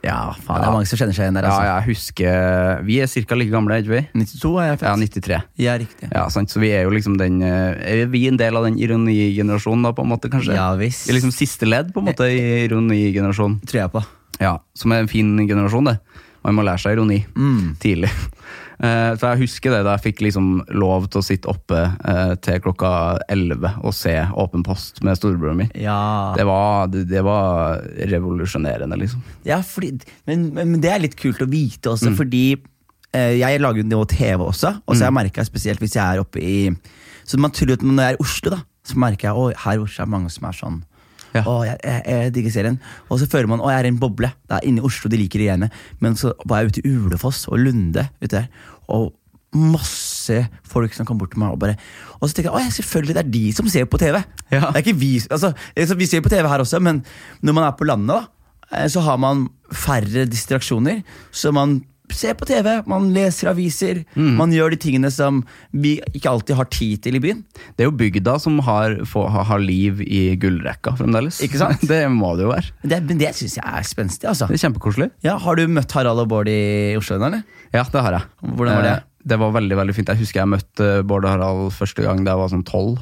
[SPEAKER 1] Ja, faen, det er mange som kjenner seg igjen der.
[SPEAKER 2] Ja,
[SPEAKER 1] Altså.
[SPEAKER 2] jeg husker Vi er ca. like gamle, er ikke vi?
[SPEAKER 1] 92 er jeg
[SPEAKER 2] Ja,
[SPEAKER 1] født.
[SPEAKER 2] 93.
[SPEAKER 1] Ja, riktig.
[SPEAKER 2] Ja, sant? Så vi er jo liksom den eh, Er vi en del av den ironigenerasjonen, da, på en måte, kanskje?
[SPEAKER 1] Ja, visst.
[SPEAKER 2] Vi er liksom siste ledd, på en måte, i ironigenerasjonen.
[SPEAKER 1] Tror jeg på.
[SPEAKER 2] Ja, som er en fin generasjon, det. Man må lære seg ironi tidlig. Eh, Så jeg husker det da jeg fikk liksom lov til å sitte oppe eh, til klokka 11 og se Åpen post med storebroren min.
[SPEAKER 1] Ja.
[SPEAKER 2] Det var, det, det var revolusjonerende, liksom.
[SPEAKER 1] Ja, fordi, men, men men det er litt kult å vite også, fordi eh, jeg lager jo noe TV også. Og så har jeg merket spesielt hvis jeg er oppe i Så man tror jo at når jeg er i Oslo, da, så merker jeg at her i Oslo er det mange som er sånn.
[SPEAKER 2] Ja.
[SPEAKER 1] Å, jeg, jeg, jeg digger serien. Og så føler man å, jeg er i en boble. Det er inne i Oslo de liker de greiene. Men så var jeg ute i Ulefoss og Lunde. Ute der, og masse folk som kom bort til meg og bare Og så tenker jeg å, ja, selvfølgelig det er de som ser på TV.
[SPEAKER 2] Ja.
[SPEAKER 1] Det er ikke vi, altså, altså, vi ser på TV her også, men når man er på landet, da, eh, så har man færre distraksjoner. Så man ser på TV, man leser aviser,
[SPEAKER 2] Mm.
[SPEAKER 1] man gjør de tingene som vi ikke alltid har tid til i byen.
[SPEAKER 2] Det er jo bygda som har, få- ha- har liv i gullrekka fremdeles.
[SPEAKER 1] Ikke sant?
[SPEAKER 2] Det må det jo være.
[SPEAKER 1] Men det, men det syns jeg er spenstig. altså.
[SPEAKER 2] Det er kjempekoselig.
[SPEAKER 1] Ja, Har du møtt Harald og Bård i Oslo ennå, eller?
[SPEAKER 2] Ja, det har jeg.
[SPEAKER 1] Hvordan var det?
[SPEAKER 2] Eh, Det var veldig veldig fint. Jeg husker jeg møtte Bård og Harald første gang da jeg var sånn tolv.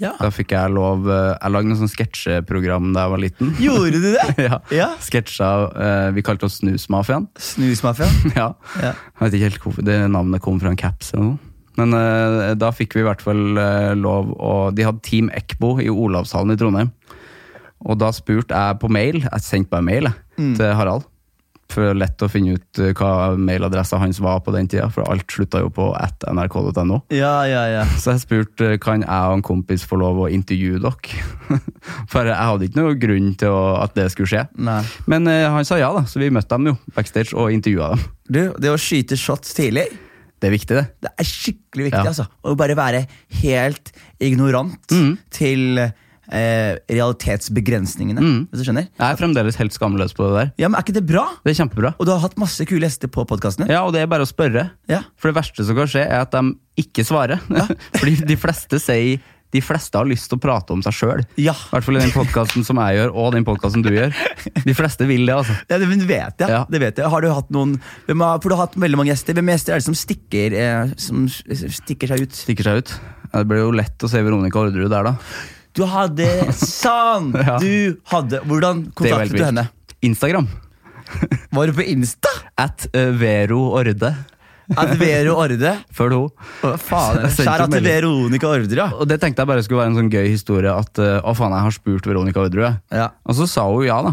[SPEAKER 1] Ja.
[SPEAKER 2] Da fikk jeg lov eh, Jeg lagde noe sånn sketsjeprogram da jeg var liten.
[SPEAKER 1] Gjorde du det?
[SPEAKER 2] ja.
[SPEAKER 1] Ja.
[SPEAKER 2] Sketsja eh, Vi kalte oss Snusmafiaen.
[SPEAKER 1] Snusmafiaen?
[SPEAKER 2] ja.
[SPEAKER 1] Ja.
[SPEAKER 2] Jeg vet ikke helt hvorfor det navnet kom fra en caps eller noe. Men eh, da fikk vi i hvert fall eh, lov å De hadde Team Ekbo i Olavshallen i Trondheim. Og da spurte jeg på mail, jeg sendte bare mail jeg, til Harald. For det er lett å finne ut eh, hva mailadressa hans var på den tida, for alt slutta jo på at nrk.no.
[SPEAKER 1] Ja, ja, ja.
[SPEAKER 2] Så jeg spurte eh, kan jeg og en kompis få lov å intervjue dere. For jeg hadde ikke noe grunn til å, at det skulle skje.
[SPEAKER 1] Nei.
[SPEAKER 2] Men eh, han sa ja, da, så vi møtte dem jo backstage og intervjua dem.
[SPEAKER 1] Du, det å skyte shots tidlig,
[SPEAKER 2] Det er viktig, det.
[SPEAKER 1] det er skikkelig viktig.
[SPEAKER 2] Ja.
[SPEAKER 1] altså. Å bare være helt ignorant til eh, realitetsbegrensningene. Hvis du skjønner?
[SPEAKER 2] Jeg er fremdeles helt skamløs på det der.
[SPEAKER 1] Ja, men Er ikke det bra?
[SPEAKER 2] Det er kjempebra.
[SPEAKER 1] Og du har hatt masse kule gjester på podkastene.
[SPEAKER 2] Ja, og det er bare å spørre.
[SPEAKER 1] Ja.
[SPEAKER 2] For det verste som kan skje, er at de ikke svarer. Fordi de fleste sier de fleste har lyst til å prate om seg sjøl.
[SPEAKER 1] Ja.
[SPEAKER 2] I hvert fall i den podkasten som jeg gjør, og den podkasten du gjør. De fleste vil det, altså.
[SPEAKER 1] Ja, det men vet jeg.
[SPEAKER 2] Ja.
[SPEAKER 1] det vet jeg. Har du hatt noen hvem har, For du har hatt veldig mange gjester. Hvem gjester er det som stikker, eh, som s- stikker seg ut?
[SPEAKER 2] Stikker seg ut. Ja, Det blir jo lett å se Veronica Orderud der, da.
[SPEAKER 1] Du hadde Sann!
[SPEAKER 2] Ja.
[SPEAKER 1] Du hadde Hvordan
[SPEAKER 2] Det er jo
[SPEAKER 1] kontaktet
[SPEAKER 2] helt
[SPEAKER 1] du henne?
[SPEAKER 2] vilt. Instagram.
[SPEAKER 1] Var du på Insta?
[SPEAKER 2] At eh, Vero Orde.
[SPEAKER 1] At Vero Orde?
[SPEAKER 2] Følg henne.
[SPEAKER 1] Hva faen?
[SPEAKER 2] Jeg sendte
[SPEAKER 1] Skjæra til
[SPEAKER 2] melding.
[SPEAKER 1] Veronica Ordre, ja.
[SPEAKER 2] Og det tenkte jeg bare skulle være en sånn gøy historie at eh, å faen, jeg har spurt Veronica Orderud. jeg.
[SPEAKER 1] Ja.
[SPEAKER 2] Og så sa hun ja, da.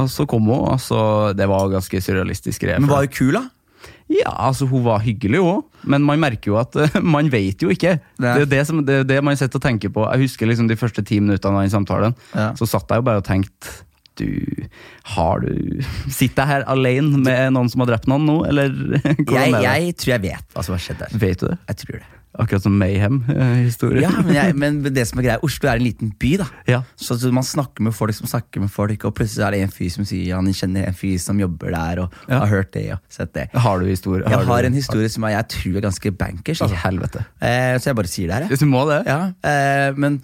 [SPEAKER 2] Og så kom hun, og så Det var ganske surrealistisk greie.
[SPEAKER 1] Men
[SPEAKER 2] for
[SPEAKER 1] var
[SPEAKER 2] det.
[SPEAKER 1] hun kul, da?
[SPEAKER 2] Ja, altså hun var hyggelig òg, men man merker jo at eh, man vet jo ikke. Det
[SPEAKER 1] Nei.
[SPEAKER 2] er jo det, som, det, er det man sitter og tenker på. Jeg husker liksom de første ti minuttene av den samtalen.
[SPEAKER 1] Ja.
[SPEAKER 2] Så satt jeg jo bare og tenkte du, har du Sitter jeg her alene med noen som har drept noen nå, eller hvordan
[SPEAKER 1] Jeg,
[SPEAKER 2] er det?
[SPEAKER 1] jeg tror jeg vet hva som har skjedd der.
[SPEAKER 2] Vet du det?
[SPEAKER 1] Jeg tror det.
[SPEAKER 2] Akkurat som Mayhem-historie.
[SPEAKER 1] Ja, men, jeg, men det som er greia, Oslo er en liten by, da.
[SPEAKER 2] Ja.
[SPEAKER 1] Så så man snakker med folk som snakker med folk, og plutselig er det en fyr som sier han kjenner en fyr som jobber der, og
[SPEAKER 2] Ja.
[SPEAKER 1] har hørt det og sett det.
[SPEAKER 2] Har du historie?
[SPEAKER 1] Jeg har en
[SPEAKER 2] du-
[SPEAKER 1] historie som er, jeg tror er ganske bankers.
[SPEAKER 2] I
[SPEAKER 1] Altså.
[SPEAKER 2] helvete.
[SPEAKER 1] Eh, så jeg bare sier det her, jeg.
[SPEAKER 2] Hvis du må det?
[SPEAKER 1] Ja, eh, men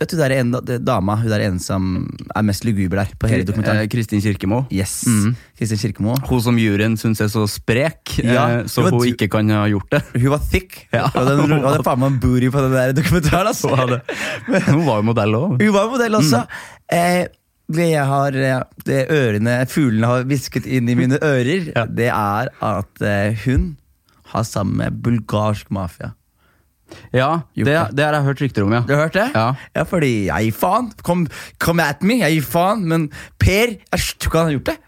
[SPEAKER 1] vet du, det er en det, dama, hun er en som er mest luguber der, på hele dokumentaren.
[SPEAKER 2] Eh, Kristin Kirkemo.
[SPEAKER 1] Yes, Kristin Kirkemo.
[SPEAKER 2] Hun som juryen syns er så sprek,
[SPEAKER 1] Ja,
[SPEAKER 2] eh, så
[SPEAKER 1] det var
[SPEAKER 2] hun
[SPEAKER 1] du-
[SPEAKER 2] ikke kan ha gjort det.
[SPEAKER 1] Hun var thick,
[SPEAKER 2] Ja.
[SPEAKER 1] og den, hun hadde faen meg en booty på den der dokumentaren. Altså.
[SPEAKER 2] Hun, hadde, hun var jo modell òg.
[SPEAKER 1] Hun var modell også. Eh, det jeg har eh, det ørene fuglene har hvisket inn i mine ører,
[SPEAKER 2] Ja.
[SPEAKER 1] det er at eh, hun har sammen med bulgarsk mafia.
[SPEAKER 2] Ja, det, det har jeg hørt rykter om, ja.
[SPEAKER 1] Du har hørt det?
[SPEAKER 2] Ja.
[SPEAKER 1] ja fordi jeg gir faen. Kom, come at me, jeg gir faen. Men Per, jeg tror ikke han har gjort det.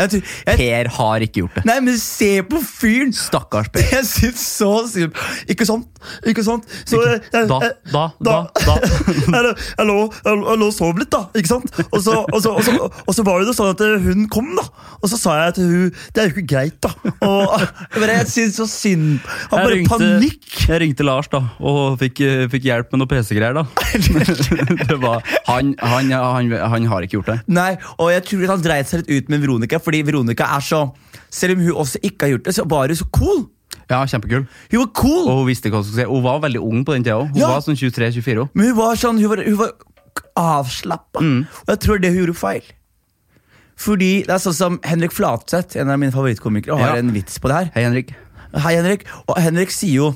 [SPEAKER 1] Jeg tror, jeg,
[SPEAKER 2] Per har ikke gjort det.
[SPEAKER 1] nei, men se på fyren!
[SPEAKER 2] Stakkars Per.
[SPEAKER 1] Jeg syns så synd Ikke sant? Ikke sant? Så, eh,
[SPEAKER 2] Da,
[SPEAKER 1] eh,
[SPEAKER 2] da, da, da.
[SPEAKER 1] jeg, lå- jeg, lå, jeg, lå- jeg lå og sov litt, da. Ikke sant? Og så, og, så, og, så, og så var det jo sånn at hun kom, da. Og så sa jeg til hun Det er jo ikke greit, da. Og, men jeg syns så synd Han bare
[SPEAKER 2] Jeg ringte-
[SPEAKER 1] panikk.
[SPEAKER 2] Jeg ringte Lars da, og fikk, eh, fikk hjelp med noe PC-greier. da. det var, han, han, han, han har ikke gjort det.
[SPEAKER 1] Nei, og jeg tror han dreit seg litt ut med Veronica, fordi Veronica er så Selv om hun også ikke har gjort det, så var hun så cool.
[SPEAKER 2] Ja, Kjempekul.
[SPEAKER 1] Hun var cool,
[SPEAKER 2] Og hun visste hva hun skulle si. Hun var veldig ung på den tida òg. Hun
[SPEAKER 1] Ja.
[SPEAKER 2] var sånn 23-24 òg.
[SPEAKER 1] men hun var sånn Hun var, hun var avslappa.
[SPEAKER 2] Mm.
[SPEAKER 1] Og jeg tror det hun gjorde feil. Fordi det er sånn som Henrik Flatseth, en av mine favorittkomikere, har
[SPEAKER 2] Ja.
[SPEAKER 1] en vits på det her.
[SPEAKER 2] Hei, Henrik.
[SPEAKER 1] Hei, Henrik. Og Henrik sier jo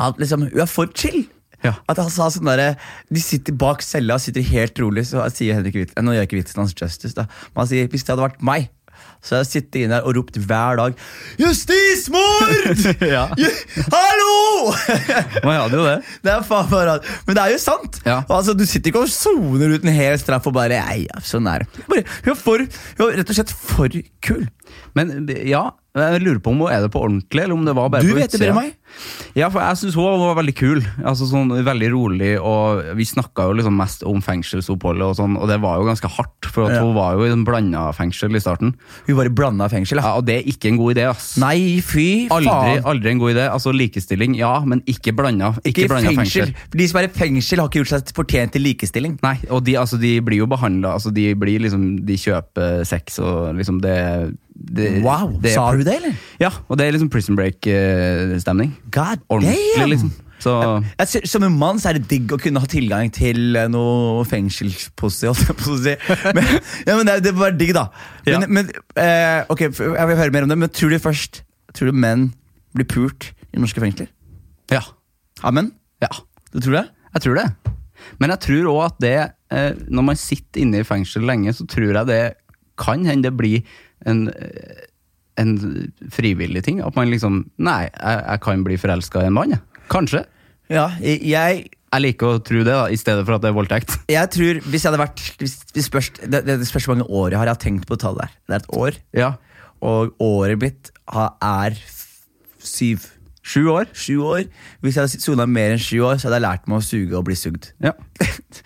[SPEAKER 1] at liksom, hun er for chill.
[SPEAKER 2] Ja.
[SPEAKER 1] At han sa sånn derre De sitter bak cella og sitter helt rolig, så sier Henrik Witz Nå gjør jeg ikke vitsen hans justice, da. Men han sier hvis det hadde vært meg, så hadde jeg sittet inne der og ropt hver dag Justismord!
[SPEAKER 2] Ja.
[SPEAKER 1] Ju- Hallo!
[SPEAKER 2] Man hadde jo det.
[SPEAKER 1] Det er faen meg rart. Men det er jo sant.
[SPEAKER 2] Ja.
[SPEAKER 1] Altså, du sitter ikke og soner ut en hel straff og bare Nei, ja, sånn er det. Bare, Hun er for, hun er rett og slett for kul.
[SPEAKER 2] Men ja, jeg lurer på om hun er det på ordentlig, eller om det var bare
[SPEAKER 1] Du
[SPEAKER 2] på
[SPEAKER 1] vet det bedre
[SPEAKER 2] utsida.
[SPEAKER 1] enn meg.
[SPEAKER 2] Ja, for jeg syns hun var veldig kul. Altså sånn Veldig rolig. Og vi snakka jo liksom mest om fengselsoppholdet, og sånn Og det var jo ganske hardt, for at
[SPEAKER 1] Ja.
[SPEAKER 2] hun var jo i en blanda fengsel i starten.
[SPEAKER 1] Hun var i blanda fengsel. Ja.
[SPEAKER 2] Ja, og det er ikke en god idé, ass.
[SPEAKER 1] Nei, fy
[SPEAKER 2] Aldri,
[SPEAKER 1] faen.
[SPEAKER 2] aldri en god idé. Altså Likestilling, ja, men ikke blanda. Ikke
[SPEAKER 1] Ikke
[SPEAKER 2] blanda fengsel.
[SPEAKER 1] fengsel. For De som er i fengsel, har ikke gjort seg fortjent til likestilling.
[SPEAKER 2] Nei, og de, altså, de blir jo behandla altså, De blir liksom De kjøper sex og liksom det, det
[SPEAKER 1] Wow,
[SPEAKER 2] Eh, det,
[SPEAKER 1] Sa hun det, eller?
[SPEAKER 2] Ja, og det er liksom prison eh, break-stemning.
[SPEAKER 1] God
[SPEAKER 2] Ordentlig,
[SPEAKER 1] damn!
[SPEAKER 2] liksom. Så
[SPEAKER 1] Jeg sy- som en mann så er det digg å kunne ha tilgang til eh, noe fengselspussy. holdt jeg på å si. Men, ja, men det, det var digg, da. Men,
[SPEAKER 2] Ja.
[SPEAKER 1] men, eh, ok, f- Jeg vil høre mer om det, men tror du først Tror du menn blir pult i norske fengsler?
[SPEAKER 2] ja.
[SPEAKER 1] Av menn?
[SPEAKER 2] ja.
[SPEAKER 1] Du tror det?
[SPEAKER 2] Jeg tror det. Men jeg tror òg at det, eh, når man sitter inne i fengsel lenge, så tror jeg det kan hende det blir en, eh, en frivillig ting. At man liksom Nei, jeg, jeg kan bli forelska i en mann, jeg. Kanskje.
[SPEAKER 1] Ja, jeg, jeg
[SPEAKER 2] Jeg liker å tro det, da, i stedet for at det er voldtekt.
[SPEAKER 1] jeg tror, hvis jeg hadde vært hvis, hvis spørs, det, det det spørs hvor mange år jeg har. Jeg har tenkt på tallet her. Det er et år.
[SPEAKER 2] Ja.
[SPEAKER 1] Og året mitt har- er f- syv.
[SPEAKER 2] Sju år.
[SPEAKER 1] Sju år. Hvis jeg hadde sona mer enn sju år, så hadde jeg lært meg å suge og bli sugd.
[SPEAKER 2] Ja.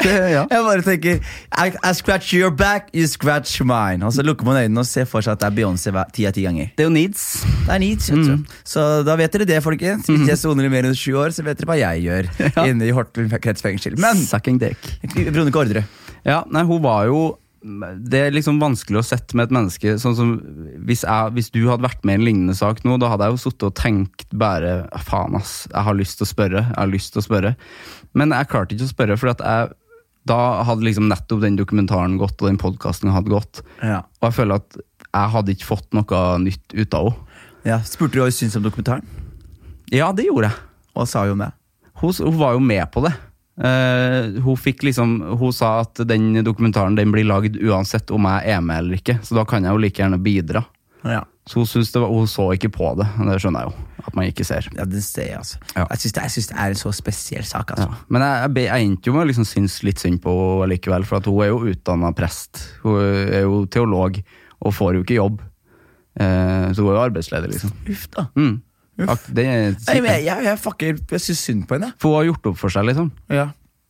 [SPEAKER 2] Det- ja.
[SPEAKER 1] Jeg bare tenker I, I scratch your back, you scratch mine. Og så lukker man øynene og ser for seg at det er Beyoncé hver- ti av ti ganger.
[SPEAKER 2] Det er jo needs.
[SPEAKER 1] Det er neat, vet du.
[SPEAKER 2] Mm.
[SPEAKER 1] Så da vet dere det, folkens. Hvis jeg soner i mer enn sju år, så vet dere hva jeg gjør inne i Horten kretsfengsel. Men
[SPEAKER 2] Sucking dick.
[SPEAKER 1] Veronica Ordre.
[SPEAKER 2] Ja, nei, hun var jo Det er liksom vanskelig å sette med et menneske Sånn som hvis, jeg, hvis du hadde vært med i en lignende sak nå, da hadde jeg jo sittet og tenkt bare «Ah, Faen, ass. Jeg har lyst til å spørre. Jeg har lyst til å spørre. Men jeg klarte ikke å spørre, for at jeg, da hadde liksom nettopp den dokumentaren gått, og den podkasten hadde gått.
[SPEAKER 1] Ja.
[SPEAKER 2] Og jeg føler at jeg hadde ikke fått noe nytt ut av henne.
[SPEAKER 1] Ja, Spurte du hva hun syntes om dokumentaren?
[SPEAKER 2] Ja, det gjorde jeg.
[SPEAKER 1] Hva sa hun om det?
[SPEAKER 2] hun, hun var jo med på det. Eh, hun fikk liksom Hun sa at den dokumentaren den blir lagd uansett om jeg er med eller ikke, så da kan jeg jo like gjerne bidra.
[SPEAKER 1] Ja.
[SPEAKER 2] Så hun, syntes det var, hun så ikke på det, det skjønner jeg jo. At man ikke ser.
[SPEAKER 1] Ja, den ser jeg, altså.
[SPEAKER 2] Ja.
[SPEAKER 1] Jeg syns det, jeg synes det er en så spesiell sak, altså.
[SPEAKER 2] Ja. Men jeg, jeg, be- jeg endte jo med å liksom synes litt synd på henne likevel, for at hun er jo utdanna prest. Hun er jo teolog og får jo ikke jobb. Eh, så hun er jo arbeidsledig, liksom.
[SPEAKER 1] Uff da.
[SPEAKER 2] Mm. Ak, det er
[SPEAKER 1] Nei, men jeg, jeg, jeg, fucker, jeg syns synd på henne.
[SPEAKER 2] For hun har gjort opp for seg, liksom.
[SPEAKER 1] Ja.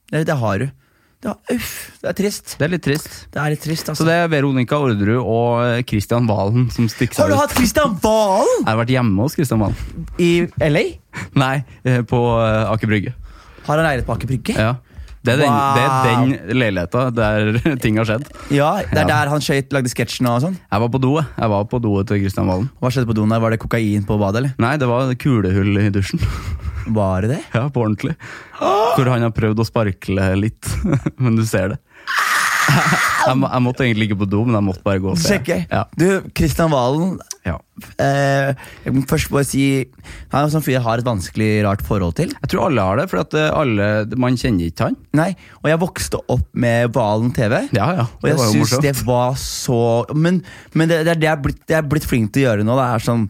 [SPEAKER 1] Det, det har du. Det, har- uff, det er trist.
[SPEAKER 2] Det er litt trist.
[SPEAKER 1] Det er litt trist,
[SPEAKER 2] Så
[SPEAKER 1] altså.
[SPEAKER 2] det er Veronica Orderud og eh, Christian Valen som stikker
[SPEAKER 1] Har
[SPEAKER 2] seg
[SPEAKER 1] du
[SPEAKER 2] ut.
[SPEAKER 1] hatt Christian Valen
[SPEAKER 2] Jeg har vært hjemme hos Christian Valen.
[SPEAKER 1] i LA?
[SPEAKER 2] Nei, eh, på eh, Aker Brygge.
[SPEAKER 1] Har han leilighet på Aker Brygge?
[SPEAKER 2] Ja. Det er den, det er den leiligheta der ting har skjedd.
[SPEAKER 1] Ja, det er
[SPEAKER 2] Ja.
[SPEAKER 1] der han skøyt, lagde sketsjen og sånn.
[SPEAKER 2] Jeg var på do, jeg. jeg var på doet til Christian Valen.
[SPEAKER 1] Hva skjedde på doen der? Var det kokain på badet, eller?
[SPEAKER 2] Nei, det var kulehull i dusjen.
[SPEAKER 1] Var det det?
[SPEAKER 2] Ja, på ordentlig. Hvor han har prøvd å sparkle litt, men du ser det. Jeg, må- jeg måtte egentlig ikke på do, men jeg måtte bare gå og se.
[SPEAKER 1] Sjekker.
[SPEAKER 2] Ja,
[SPEAKER 1] Du, Christian Valen
[SPEAKER 2] ja.
[SPEAKER 1] eh, Jeg må først bare si Han er en sånn fyr jeg har et vanskelig, rart forhold til.
[SPEAKER 2] Jeg tror alle har det, for at eh, alle, man kjenner ikke han.
[SPEAKER 1] Nei, Og jeg vokste opp med Valen TV.
[SPEAKER 2] Ja, ja,
[SPEAKER 1] Og
[SPEAKER 2] det
[SPEAKER 1] jeg
[SPEAKER 2] var jo
[SPEAKER 1] syns
[SPEAKER 2] morsomt.
[SPEAKER 1] det var så Men, men det, det, er det, jeg er blitt, det jeg er blitt flink til å gjøre nå. Det er sånn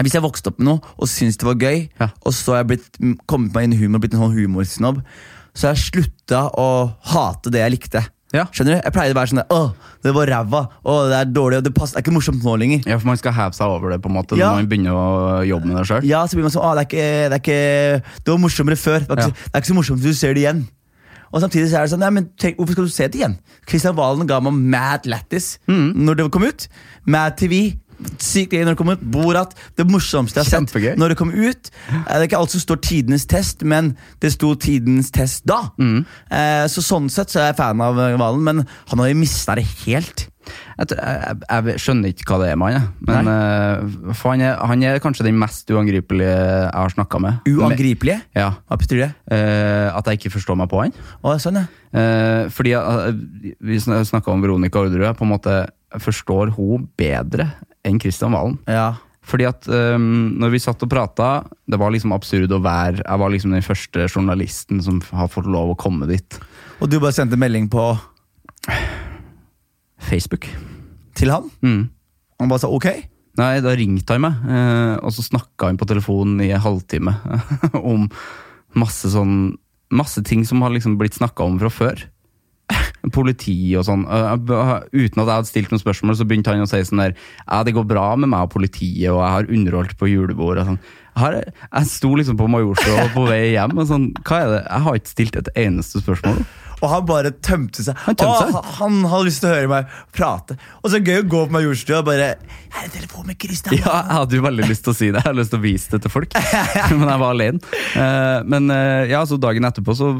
[SPEAKER 1] hvis jeg vokste opp med noe og syntes det var gøy,
[SPEAKER 2] Ja.
[SPEAKER 1] og så har jeg blitt, m, kommet meg inn i humor og blitt en sånn humorsnobb, så har jeg slutta å hate det jeg likte.
[SPEAKER 2] Ja.
[SPEAKER 1] Skjønner du? Jeg pleide å være sånn der, Åh, det var ræva. Åh, det er dårlig. Og det, passer, det er ikke morsomt nå lenger.
[SPEAKER 2] Ja, for man skal heve seg over det på en måte
[SPEAKER 1] Ja.
[SPEAKER 2] når man begynner å jobbe med det sjøl.
[SPEAKER 1] Ja, så blir man sånn, «Åh, det, er ikke, det, er ikke, det var morsommere før. Det, var ikke,
[SPEAKER 2] Ja.
[SPEAKER 1] det er ikke så morsomt hvis du ser det igjen. Og samtidig så er det sånn, nei, men tenk, hvorfor skal du se det igjen? Kristian Valen ga meg Mad Lattis
[SPEAKER 2] Mm.
[SPEAKER 1] når det kom ut. Mad TV. Sykt gøy når det kom ut. Borat. Det morsomste jeg har
[SPEAKER 2] Kjempegøy.
[SPEAKER 1] sett når det kom ut. Eh, Det er ikke alt som står tidenes test, men det sto tidenes test da.
[SPEAKER 2] Mm.
[SPEAKER 1] Eh, Så sånn sett så er jeg fan av eh, Valen, men han har jo mista det helt.
[SPEAKER 2] Jeg, tror- jeg, jeg skjønner ikke hva det er med han, jeg. Men, eh, for han, er, han er kanskje den mest uangripelige jeg har snakka med.
[SPEAKER 1] Uangripelige.
[SPEAKER 2] Med- Ja.
[SPEAKER 1] Hva betyr det?
[SPEAKER 2] Eh, at jeg ikke forstår meg på han.
[SPEAKER 1] Å, sånn, ja.
[SPEAKER 2] Eh, fordi eh, vi snakka om Veronica Orderud. Jeg på en måte forstår hun bedre enn Kristian Valen.
[SPEAKER 1] ja.
[SPEAKER 2] Fordi at um, når vi satt og prata, det var liksom absurd å være Jeg var liksom den første journalisten som f- har fått lov å komme dit.
[SPEAKER 1] Og du bare sendte melding på
[SPEAKER 2] Facebook.
[SPEAKER 1] til han?
[SPEAKER 2] Mm.
[SPEAKER 1] Han bare sa ok.
[SPEAKER 2] Nei, da ringte han meg, eh, og så snakka han på telefonen i en halvtime om masse sånn Masse ting som har liksom blitt snakka om fra før. Politi og sånn. Eh, jeg b- Uten at jeg hadde stilt noen spørsmål, så begynte han å si sånn der Ja, det går bra med meg og politiet, og jeg har underholdt på julebord og sånn. Her, jeg sto liksom på Majorstua på vei hjem og sånn Hva er det? Jeg har ikke stilt et eneste spørsmål.
[SPEAKER 1] Og han bare tømte seg.
[SPEAKER 2] Han tømte seg.
[SPEAKER 1] Å, han, han hadde lyst til å høre meg prate. Og så gøy å gå på Majorstua og bare Her er telefonen med Christian.
[SPEAKER 2] Ja, jeg hadde jo veldig lyst til å si det. Jeg hadde lyst til å vise det til folk. Men jeg var alene. Eh, Men eh, ja, så dagen etterpå så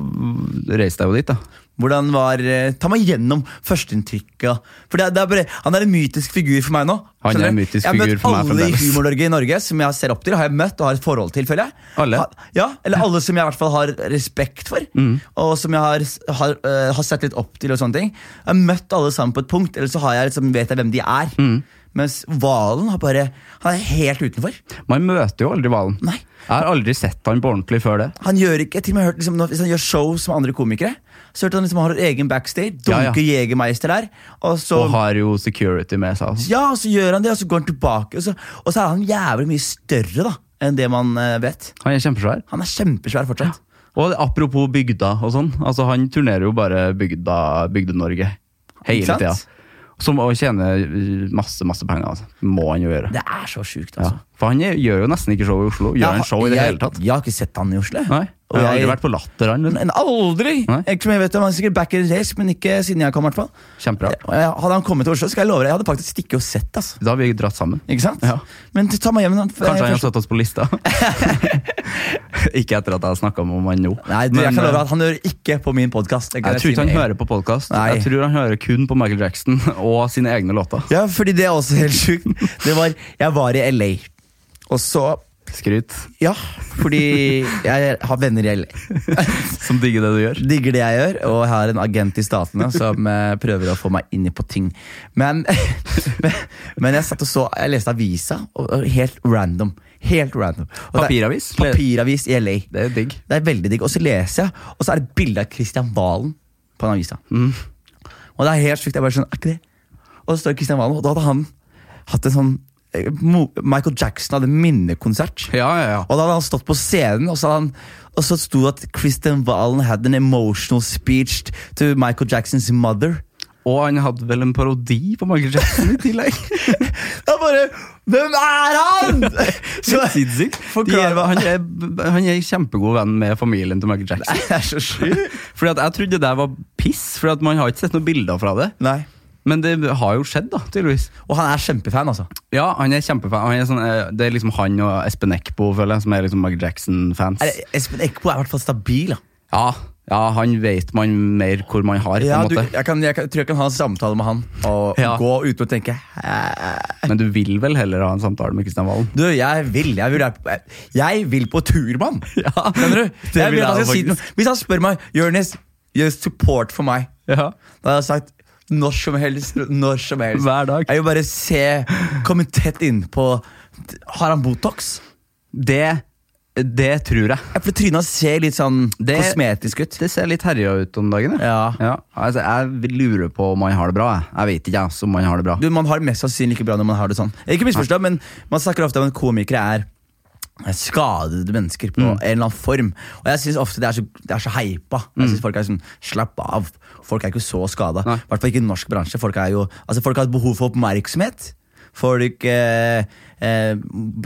[SPEAKER 2] reiste jeg jo dit, da.
[SPEAKER 1] Hvordan var eh, Ta meg gjennom førsteinntrykket. For det, er- det er bare, han er en mytisk figur for meg nå.
[SPEAKER 2] Han er
[SPEAKER 1] Skjønner
[SPEAKER 2] en
[SPEAKER 1] du?
[SPEAKER 2] mytisk
[SPEAKER 1] jeg har
[SPEAKER 2] figur
[SPEAKER 1] møtt
[SPEAKER 2] for meg
[SPEAKER 1] alle i
[SPEAKER 2] fremdeles.
[SPEAKER 1] Humor-Norge i Norge som jeg ser opp til, har jeg møtt og har et forhold til, føler jeg.
[SPEAKER 2] Alle?
[SPEAKER 1] Ha, ja, Eller alle som jeg i hvert fall har respekt for,
[SPEAKER 2] Mm.
[SPEAKER 1] og som jeg har, har, eh, har sett litt opp til. og sånne ting Jeg har møtt alle sammen på et punkt, eller så har jeg liksom, vet jeg hvem de er.
[SPEAKER 2] Mm.
[SPEAKER 1] Mens Valen har bare Han er helt utenfor.
[SPEAKER 2] Man møter jo aldri Valen.
[SPEAKER 1] Nei.
[SPEAKER 2] Jeg har aldri sett han på ordentlig før det.
[SPEAKER 1] Han gjør ikke, til og med hørt liksom, når- Hvis han gjør shows med andre komikere, så hørte han liksom han har egen backstage,
[SPEAKER 2] Ja, ja.
[SPEAKER 1] dunker Jegermeister der. Og så
[SPEAKER 2] Og har jo security med seg. altså.
[SPEAKER 1] Ja, og så gjør han det, og så går han tilbake. Og så, og så er han jævlig mye større da enn det man eh, vet.
[SPEAKER 2] Han er kjempesvær.
[SPEAKER 1] Han er kjempesvær fortsatt.
[SPEAKER 2] Og apropos bygda og sånn. Altså, han turnerer jo bare bygda, Bygde-Norge hele
[SPEAKER 1] Ikke sant?
[SPEAKER 2] tida. Som å tjene masse, masse penger. Altså. Må han jo gjøre.
[SPEAKER 1] Det er så sjukt,
[SPEAKER 2] Ja.
[SPEAKER 1] altså.
[SPEAKER 2] For han gjør jo nesten ikke show i Oslo. Gjør han show i det hele tatt?
[SPEAKER 1] Jeg, jeg har ikke sett han i Oslo.
[SPEAKER 2] Nei.
[SPEAKER 1] Og
[SPEAKER 2] Jeg har
[SPEAKER 1] jeg-
[SPEAKER 2] aldri vært på Latter, han. vet du.
[SPEAKER 1] Men aldri!
[SPEAKER 2] Nei.
[SPEAKER 1] Ikke som jeg vet om, Han er sikkert back in the days, men ikke siden jeg kom. i hvert fall
[SPEAKER 2] Kjempebra.
[SPEAKER 1] Og jeg- Hadde han kommet til Oslo, skal jeg love deg, jeg hadde faktisk ikke sett. altså
[SPEAKER 2] Da har vi dratt sammen.
[SPEAKER 1] Ikke sant?
[SPEAKER 2] Ja.
[SPEAKER 1] Men ta meg hjem da, for-
[SPEAKER 2] Kanskje han har
[SPEAKER 1] først-
[SPEAKER 2] satt oss på lista. ikke etter at jeg har snakka om han nå.
[SPEAKER 1] Nei, du, jeg
[SPEAKER 2] Men,
[SPEAKER 1] kan love
[SPEAKER 2] eh,
[SPEAKER 1] deg at Han hører ikke på min podkast.
[SPEAKER 2] jeg tror ikke han hører på podkast.
[SPEAKER 1] Nei.
[SPEAKER 2] Jeg tror han hører kun på Michael Jackson og sine egne låter.
[SPEAKER 1] Ja, fordi det er også helt sjukt. Det var, jeg var i LA, og så
[SPEAKER 2] Skryt.
[SPEAKER 1] Ja, fordi jeg har venner i LA.
[SPEAKER 2] Som digger det du gjør.
[SPEAKER 1] Digger det jeg gjør, og jeg har en agent i statene som eh, prøver å få meg inn på ting. Men, men, men jeg satt og så, jeg leste avisa, og, og helt random. Helt random. Og det er-
[SPEAKER 2] Papiravis?
[SPEAKER 1] Papiravis i LA.
[SPEAKER 2] Det er digg.
[SPEAKER 1] Det er veldig digg. Og så leser jeg, og så er det bilde av Kristian Valen på den avisa. Og det er helt sykt. Jeg bare skjønner, er ikke det? Og så står Kristian Valen, og da hadde han hatt en sånn eh, Mo- Michael Jackson hadde minnekonsert.
[SPEAKER 2] Ja, ja, ja.
[SPEAKER 1] Og da hadde han stått på scenen, og så, hadde han, og så sto det at Christian Valen had an emotional speech to Michael Jacksons mother.
[SPEAKER 2] Og han hadde vel en parodi på Michael Jackson i tillegg.
[SPEAKER 1] Det er bare Hvem er han?! Så
[SPEAKER 2] Sinnssykt. De
[SPEAKER 1] Forklar
[SPEAKER 2] er,
[SPEAKER 1] hva
[SPEAKER 2] han, er, han er kjempegod venn med familien til Michael Jackson.
[SPEAKER 1] Det er så sjukt.
[SPEAKER 2] Fordi at Jeg trodde det der var piss, Fordi at man har ikke sett noen bilder fra det.
[SPEAKER 1] Nei.
[SPEAKER 2] Men det har jo skjedd, da, tydeligvis.
[SPEAKER 1] Og han er kjempefan, altså.
[SPEAKER 2] Ja, han er kjempefan. Han er sånn, eh, det er liksom han og Espen Eckbo, føler jeg, som er liksom Michael Jackson-fans.
[SPEAKER 1] Er, Espen Eckbo er i hvert fall stabil. Da.
[SPEAKER 2] Ja, ja, han vet man mer hvor man har, på en
[SPEAKER 1] Ja, du,
[SPEAKER 2] måte.
[SPEAKER 1] jeg, kan, jeg, kan, jeg tror jeg kan ha en samtale med han og
[SPEAKER 2] Ja.
[SPEAKER 1] gå uten å tenke
[SPEAKER 2] Men du vil vel heller ha en samtale med Kristian Valen?
[SPEAKER 1] Du, jeg vil Jeg vil, jeg vil på tur, mann!
[SPEAKER 2] Ja,
[SPEAKER 1] Skjønner du?
[SPEAKER 2] det
[SPEAKER 1] Jeg
[SPEAKER 2] vil
[SPEAKER 1] vil at han
[SPEAKER 2] jeg
[SPEAKER 1] skal si
[SPEAKER 2] faktisk.
[SPEAKER 1] noe. Hvis han spør meg Jonis, gjør support for meg,
[SPEAKER 2] Ja.
[SPEAKER 1] da hadde jeg sagt når som helst. Når som helst.
[SPEAKER 2] Hver dag.
[SPEAKER 1] Jeg vil bare se Komme tett innpå Har han Botox?
[SPEAKER 2] Det, det tror jeg.
[SPEAKER 1] Ja, For trynet hans ser litt sånn
[SPEAKER 2] Det-
[SPEAKER 1] kosmetisk ut.
[SPEAKER 2] Det ser litt herja ut om dagen. jeg.
[SPEAKER 1] Ja.
[SPEAKER 2] Ja, altså, jeg lurer på om han har det bra. Jeg, jeg vet ikke jeg, om han har det bra.
[SPEAKER 1] Du, man har det mest sannsynlig ikke bra når man har det sånn. Ikke misforstå, men Man snakker ofte om at komikere er skadede mennesker
[SPEAKER 2] Mm.
[SPEAKER 1] på en eller annen form. Og jeg syns ofte det er så, det er så hypa. Jeg synes Folk er sånn slapp av. Folk er ikke så skada.
[SPEAKER 2] Mm. Nei.
[SPEAKER 1] I hvert fall ikke i norsk bransje. Folk, er jo, altså folk har et behov for oppmerksomhet. Folk eh, eh,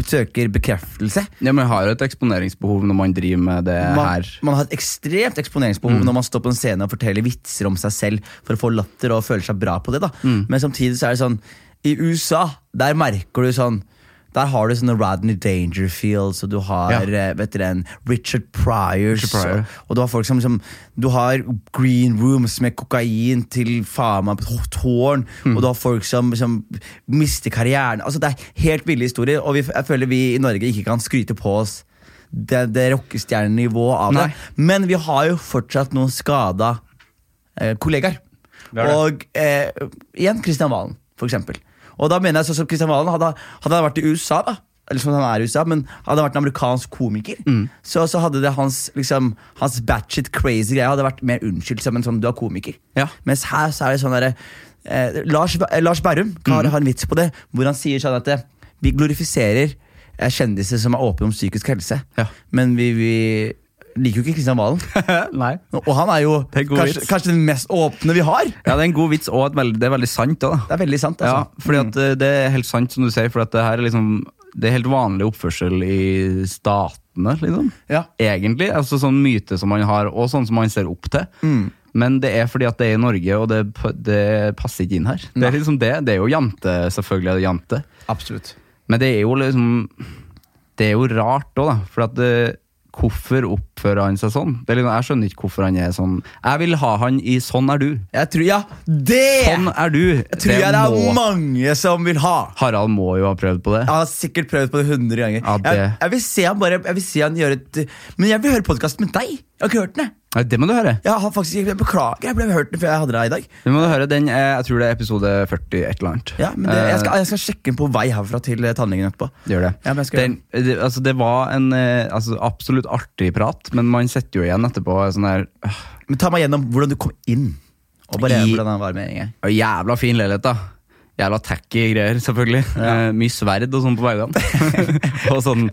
[SPEAKER 1] søker bekreftelse.
[SPEAKER 2] Ja, men jeg har jo et eksponeringsbehov når man driver med det
[SPEAKER 1] Man,
[SPEAKER 2] her. Mm.
[SPEAKER 1] man har et ekstremt eksponeringsbehov når man står på en scene og forteller vitser om seg selv for å få latter og føle seg bra på det. da
[SPEAKER 2] Mm.
[SPEAKER 1] Men samtidig så er det sånn I USA, der merker du sånn der har du sånne Rodney Dangerfields og du har
[SPEAKER 2] Ja.
[SPEAKER 1] eh, vet dere, en Richard Pryors.
[SPEAKER 2] Richard Pryor.
[SPEAKER 1] Og, og du har folk som, som Du har green rooms med kokain til faen meg på tårn. Og du har folk som, som mister karrieren. Altså Det er helt ville historier, og vi, jeg føler vi i Norge ikke kan skryte på oss det, det rockestjernenivået av
[SPEAKER 2] Nei.
[SPEAKER 1] det. Men vi har jo fortsatt noen skada eh, kollegaer.
[SPEAKER 2] Vi har det.
[SPEAKER 1] Og eh, igjen Kristian Valen, for eksempel. Og da mener jeg sånn som Kristian Valen hadde, hadde han vært i USA, da. Eller sånn som han er i USA, men hadde han vært en amerikansk komiker,
[SPEAKER 2] Mm.
[SPEAKER 1] så, så hadde det hans liksom, Hans batshit crazy greie hadde vært mer unnskyldt som en sånn du er komiker.
[SPEAKER 2] Ja.
[SPEAKER 1] Mens her så er det sånn derre eh, Lars, Ba- eh, Lars Berrum kan
[SPEAKER 2] Mm.
[SPEAKER 1] ha en vits på det, hvor han sier sånn at eh, vi glorifiserer eh, kjendiser som er åpne om psykisk helse,
[SPEAKER 2] Ja.
[SPEAKER 1] men vi, vi liker jo ikke Kristian Valen.
[SPEAKER 2] Nei.
[SPEAKER 1] Og han er jo
[SPEAKER 2] Det er god
[SPEAKER 1] kanskje,
[SPEAKER 2] vits.
[SPEAKER 1] kanskje den mest åpne vi har.
[SPEAKER 2] Ja, det er en god vits, og et veld- det er veldig sant. da, da.
[SPEAKER 1] Det er veldig sant.
[SPEAKER 2] Ja,
[SPEAKER 1] altså
[SPEAKER 2] fordi at eh, det er helt sant som du sier, for at det her er liksom Det er helt vanlig oppførsel i statene, liksom.
[SPEAKER 1] Ja.
[SPEAKER 2] Egentlig. Altså sånn myte som man har, og sånn som man ser opp til.
[SPEAKER 1] Mm.
[SPEAKER 2] Men det er fordi at det er i Norge, og det, p- det passer ikke inn her. Det er liksom det, det er jo jante, selvfølgelig er det jante.
[SPEAKER 1] Absolutt.
[SPEAKER 2] Men det er jo liksom Det er jo rart òg, da. For at det, hvorfor oppfører han seg sånn? Det er liksom, jeg skjønner ikke hvorfor han er sånn. Jeg vil ha han i 'sånn er du'.
[SPEAKER 1] Jeg tror, ja, det
[SPEAKER 2] Sånn er du!
[SPEAKER 1] tror jeg det
[SPEAKER 2] må-
[SPEAKER 1] er mange som vil ha.
[SPEAKER 2] Harald må jo ha prøvd på det.
[SPEAKER 1] Jeg har sikkert prøvd på det 100 ganger.
[SPEAKER 2] Ja, det-
[SPEAKER 1] Jeg, jeg vil se han bare Jeg vil se han gjøre et Men jeg vil høre podkasten med deg. Jeg har ikke hørt den. jeg.
[SPEAKER 2] Nei, det må du høre.
[SPEAKER 1] Jeg har faktisk, jeg beklager, jeg ble hørt den før jeg hadde deg i dag.
[SPEAKER 2] Det må du høre, den er, Jeg tror det er episode 40 et eller annet.
[SPEAKER 1] Ja, men det, jeg, skal, jeg skal sjekke den på vei herfra til eh, tannlegen etterpå.
[SPEAKER 2] Eh, Gjør det.
[SPEAKER 1] Ja, men jeg skal
[SPEAKER 2] den, det, altså, det var en eh, altså, absolutt artig prat, men man setter jo igjen etterpå sånn der øh,
[SPEAKER 1] Men Ta meg gjennom hvordan du kom inn. Og bare
[SPEAKER 2] I-
[SPEAKER 1] hvordan han var med en gang.
[SPEAKER 2] Jævla fin leilighet, da. Jævla tacky greier, selvfølgelig. Eh, mye sverd og sånn på veggene. og sånn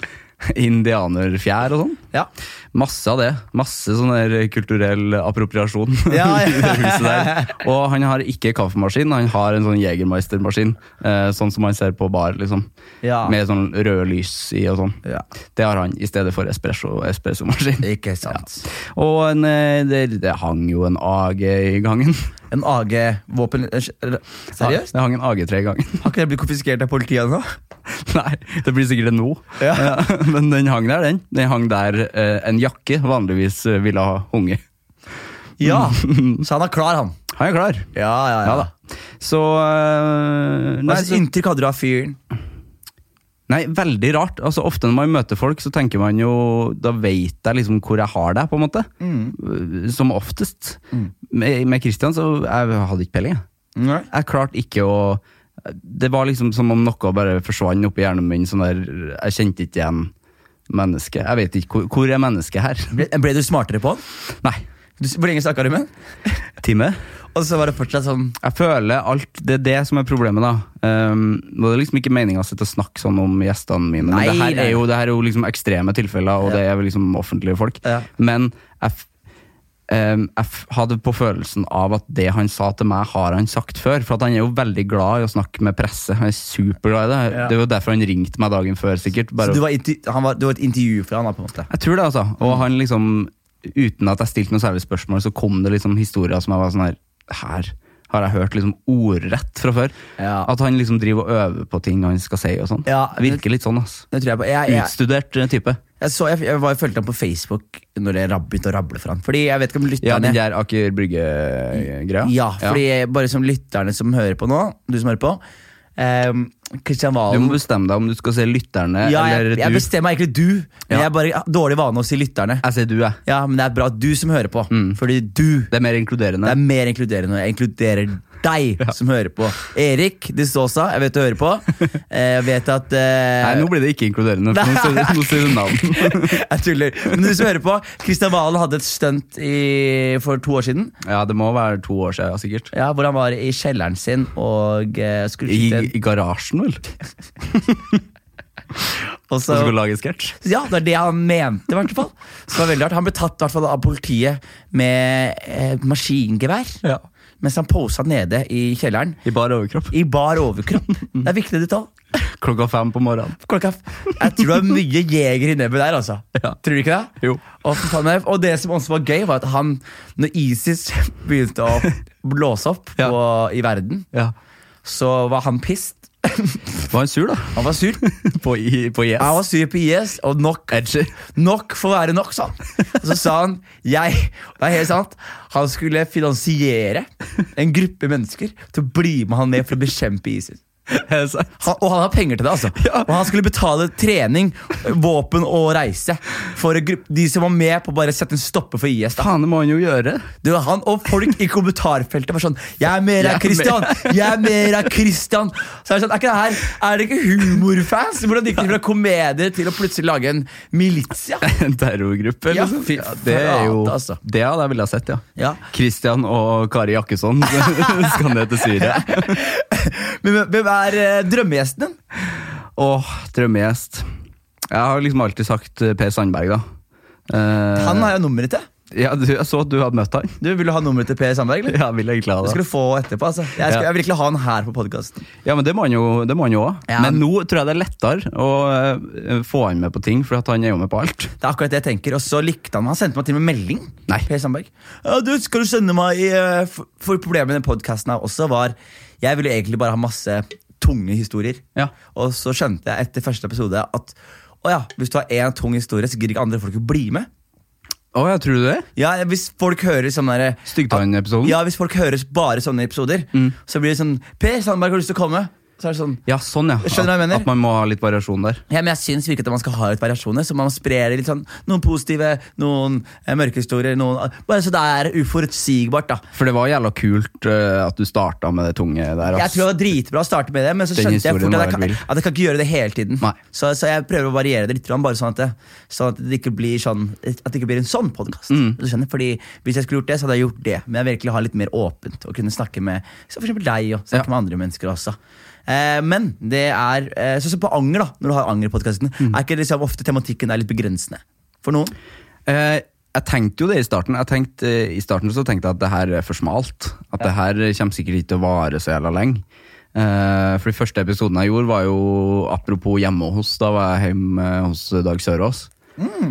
[SPEAKER 2] indianerfjær og sånn.
[SPEAKER 1] Ja.
[SPEAKER 2] Masse av det. Masse sånn der kulturell appropriasjon
[SPEAKER 1] Ja, ja.
[SPEAKER 2] i det huset der. Og han har ikke kaffemaskin, han har en sånn Jegermeistermaskin. Eh, sånn som man ser på bar, liksom.
[SPEAKER 1] Ja.
[SPEAKER 2] Med sånn rød lys i og sånn.
[SPEAKER 1] Ja.
[SPEAKER 2] Det har han i stedet for espresso, espressomaskin.
[SPEAKER 1] Ikke sant.
[SPEAKER 2] Og en, eh, det, det hang jo en AG i gangen.
[SPEAKER 1] En AG-våpen eh, Seriøst?
[SPEAKER 2] Ja, det hang en AG3 i gangen.
[SPEAKER 1] Har ikke det blitt konfiskert av politiet nå?
[SPEAKER 2] Nei, det blir sikkert det nå.
[SPEAKER 1] Ja.
[SPEAKER 2] Ja, men den hang der, den. Den hang der eh, en jakke vanligvis eh, ville ha hunget.
[SPEAKER 1] Ja, så han er klar, han.
[SPEAKER 2] Han er klar.
[SPEAKER 1] Mm. Ja, ja,
[SPEAKER 2] Ja da. Så eh,
[SPEAKER 1] Hva
[SPEAKER 2] nei,
[SPEAKER 1] slags
[SPEAKER 2] så
[SPEAKER 1] inntrykk hadde du av fyren?
[SPEAKER 2] nei, veldig rart. Altså, ofte når man møter folk, så tenker man jo Da veit jeg liksom hvor jeg har deg, på en måte. Eh, Som oftest.
[SPEAKER 1] Mm.
[SPEAKER 2] Med, med Christian så jeg hadde ikke peiling, jeg.
[SPEAKER 1] Nei.
[SPEAKER 2] Jeg klarte ikke å Det var liksom som om noe bare forsvant oppi hjernen min. Sånn der, jeg kjente ikke igjen mennesket. Jeg vet ikke, hvor, hvor er mennesket her?
[SPEAKER 1] Ble, ble du smartere på han?
[SPEAKER 2] Nei.
[SPEAKER 1] Du, hvor lenge snakka du med han?
[SPEAKER 2] Time?
[SPEAKER 1] Og så var det fortsatt sånn
[SPEAKER 2] Jeg føler alt Det er det som er problemet, da. Um, og det er liksom ikke meninga å sitte og snakke sånn om gjestene mine.
[SPEAKER 1] Nei,
[SPEAKER 2] men det her
[SPEAKER 1] nei.
[SPEAKER 2] er jo, det her er jo liksom ekstreme tilfeller, og
[SPEAKER 1] Ja.
[SPEAKER 2] det er vel liksom offentlige folk.
[SPEAKER 1] Ja.
[SPEAKER 2] Men jeg, f- eh, jeg f- hadde på følelsen av at det han sa til meg, har han sagt før. For at han er jo veldig glad i å snakke med presse. Han er superglad i det.
[SPEAKER 3] Ja.
[SPEAKER 2] Det er jo derfor han ringte meg dagen før, sikkert.
[SPEAKER 1] Så
[SPEAKER 2] Bare,
[SPEAKER 1] du var, intervju- han var, du var et intervju fra han, da, på en måte?
[SPEAKER 2] jeg tror det, altså. Og han liksom, uten at jeg stilte noe særlig spørsmål, så kom det liksom historier som jeg var sånn her Her har jeg hørt liksom ordrett fra før.
[SPEAKER 1] Ja.
[SPEAKER 2] At han liksom driver og øver på ting han skal si og sånn.
[SPEAKER 1] Ja,
[SPEAKER 2] Virker litt sånn, ass.
[SPEAKER 1] Det tror jeg på. Jeg, jeg,
[SPEAKER 2] Utstudert eh, type.
[SPEAKER 1] jeg, så, jeg, jeg var, fulgte ham på Facebook når jeg rab- begynte å rable for han. Fordi jeg vet ikke om
[SPEAKER 2] Ja,
[SPEAKER 1] lytterne
[SPEAKER 2] den der Aker Brygge-greia.
[SPEAKER 1] Ja, fordi bare som lytterne som hører på nå, du som hører på Kristian
[SPEAKER 2] Du
[SPEAKER 1] Valen
[SPEAKER 2] må bestemme deg om du skal se lytterne
[SPEAKER 1] ja, jeg,
[SPEAKER 2] eller
[SPEAKER 1] jeg
[SPEAKER 2] du.
[SPEAKER 1] bestemmer egentlig du, men
[SPEAKER 2] Ja.
[SPEAKER 1] jeg er bare jeg har dårlig vane å si lytterne.
[SPEAKER 2] Jeg sier du, jeg.
[SPEAKER 1] Ja, Men det er bra at du som hører på,
[SPEAKER 2] Mm.
[SPEAKER 1] fordi du
[SPEAKER 2] Det er mer
[SPEAKER 1] det
[SPEAKER 2] inkluderende.
[SPEAKER 1] er mer inkluderende. Jeg inkluderer deg som hører på. Erik de Ståsa, jeg vet du hører på. Eh, Jeg vet at eh,
[SPEAKER 2] Nei, nå blir det ikke inkluderende. For nå sier du- nå sier du navn.
[SPEAKER 1] Jeg tuller. Men du som hører på, Kristian Valen hadde et stunt i, for to år siden.
[SPEAKER 2] Ja, det må være to år siden, sikkert.
[SPEAKER 1] Ja, Hvor han var i kjelleren sin og eh, skulle skyte
[SPEAKER 2] I,
[SPEAKER 1] en
[SPEAKER 2] i garasjen, vel?
[SPEAKER 1] og
[SPEAKER 2] Som
[SPEAKER 1] så-
[SPEAKER 2] skulle lage sketsj?
[SPEAKER 1] Ja, det er det han mente, i hvert fall. Så det var veldig rart. Han ble tatt i hvert fall av politiet med eh, maskingevær.
[SPEAKER 2] Ja.
[SPEAKER 1] Mens han posa nede i kjelleren
[SPEAKER 2] I bar overkropp.
[SPEAKER 1] i bar overkropp. Det er viktig detalj.
[SPEAKER 2] Klokka fem på morgenen.
[SPEAKER 1] Klokka f- Jeg tror det var mye jeger i nebbet der, altså.
[SPEAKER 2] Ja.
[SPEAKER 1] Tror du ikke det?
[SPEAKER 2] Jo.
[SPEAKER 1] Og, fy faen, men- og det som også var gøy, var at han, når ISIS begynte å blåse opp
[SPEAKER 2] Ja.
[SPEAKER 1] på, i verden,
[SPEAKER 2] Ja.
[SPEAKER 1] så var han pissed.
[SPEAKER 2] Var han sur, da?
[SPEAKER 1] Han var sur.
[SPEAKER 2] På, i, på Yes?
[SPEAKER 1] Han var sur på IS, og nok
[SPEAKER 2] Edgy.
[SPEAKER 1] Nok for å være nok, sa han. Og så sa han jeg, det er helt sant, han skulle finansiere en gruppe mennesker til å bli med han ned for å bekjempe ISIS.
[SPEAKER 2] Er det sant?
[SPEAKER 1] Han, og han har penger til det, altså.
[SPEAKER 2] Ja.
[SPEAKER 1] Og han skulle betale trening, våpen og reise for en gruppe, de som var med på å bare sette en stopper for IS. da.
[SPEAKER 2] Faen, det må han jo gjøre.
[SPEAKER 1] Du, han og folk i kommentarfeltet var sånn 'Jeg er mer av
[SPEAKER 2] Jeg er
[SPEAKER 1] Christian!' Jeg er mer av Christian Så er det sånn, er ikke det her Er det ikke humorfans? Hvordan gikk det fra komedie til å plutselig lage en militsia?
[SPEAKER 2] En terrorgruppe,
[SPEAKER 1] Ja,
[SPEAKER 2] liksom.
[SPEAKER 1] fy
[SPEAKER 2] Ja, det er jo
[SPEAKER 1] flate, altså.
[SPEAKER 2] Det hadde jeg ville ha sett, ja.
[SPEAKER 1] Ja.
[SPEAKER 2] Christian og Kari Jakkesson skal ned til Syria.
[SPEAKER 1] Men hvem- hvem er eh, drømmegjesten din?
[SPEAKER 2] Åh, drømmegjest. Jeg har liksom alltid sagt eh, Per Sandberg, da. Eh,
[SPEAKER 1] Han har jeg nummeret til.
[SPEAKER 2] ja, du, jeg så at du hadde møtt han.
[SPEAKER 1] Du, Vil du ha nummeret til Per Sandberg? eller?
[SPEAKER 2] Ja, jeg vil egentlig ha
[SPEAKER 1] Det
[SPEAKER 2] det.
[SPEAKER 1] skal du få etterpå. altså Jeg, skal,
[SPEAKER 2] Ja.
[SPEAKER 1] jeg vil virkelig ha han her på podkasten.
[SPEAKER 2] Ja, men det må han jo det må han jo også.
[SPEAKER 1] Ja.
[SPEAKER 2] Men nå tror jeg det er lettere å eh, få han med på ting, for at han er jo med på alt.
[SPEAKER 1] Det er akkurat det jeg tenker. Og så likte han meg. Han sendte meg til og med melding.
[SPEAKER 2] Nei.
[SPEAKER 1] Per Sandberg. Ja, du, skal du sende meg i, eh, For for problemet med den podkasten her også var Jeg ville egentlig bare ha masse tunge historier.
[SPEAKER 2] Ja.
[SPEAKER 1] Og så skjønte jeg etter første episode at å ja, hvis du har én tung historie, så gidder ikke andre folk å bli med.
[SPEAKER 2] Å ja, tror du det?
[SPEAKER 1] Ja, Hvis folk hører sånn derre
[SPEAKER 2] Styggtann-episoden?
[SPEAKER 1] Ja, hvis folk hører bare sånne episoder,
[SPEAKER 2] Mm.
[SPEAKER 1] så blir det sånn Per Sandberg, har du lyst til å komme? Så er det sånn
[SPEAKER 2] Ja, sånn, ja.
[SPEAKER 1] Skjønner du hva jeg
[SPEAKER 2] At-
[SPEAKER 1] mener?
[SPEAKER 2] At man må ha litt variasjon der.
[SPEAKER 1] ja, men jeg syns virkelig at man skal ha litt variasjoner, så man sprer litt sånn noen positive, noen eh, mørke historier, noen Bare så det er uforutsigbart, da.
[SPEAKER 2] For det var jævla kult eh, at du starta med det tunge der.
[SPEAKER 1] Jeg
[SPEAKER 2] ass.
[SPEAKER 1] tror det var dritbra å starte med det, men så
[SPEAKER 2] Den
[SPEAKER 1] skjønte jeg fort
[SPEAKER 2] historien
[SPEAKER 1] at jeg,
[SPEAKER 2] var
[SPEAKER 1] kan,
[SPEAKER 2] vill.
[SPEAKER 1] at jeg kan ikke gjøre det hele tiden.
[SPEAKER 2] Nei.
[SPEAKER 1] Så, så jeg prøver å variere det litt, grann, bare sånn at det, sånn at det ikke blir sånn At det ikke blir en sånn podkast.
[SPEAKER 2] Mm.
[SPEAKER 1] Fordi Hvis jeg skulle gjort det, så hadde jeg gjort det. Men jeg vil virkelig ha litt mer åpent og kunne snakke med så for eksempel deg og snakke
[SPEAKER 2] Ja.
[SPEAKER 1] med andre mennesker også. Eh, men det er eh, Sånn som på anger, da når du har angerpodkasten,
[SPEAKER 2] Mm.
[SPEAKER 1] er ikke liksom ofte tematikken er litt begrensende for noen?
[SPEAKER 2] Eh, jeg tenkte jo det i starten. Jeg tenkte, eh, I starten så tenkte jeg at det her er for smalt. At det her kommer sikkert ikke til å vare så jævla lenge. Eh, for de første episodene jeg gjorde, var jo apropos hjemme hos. Da var jeg hjemme hos Dag Sørås.
[SPEAKER 1] Mm.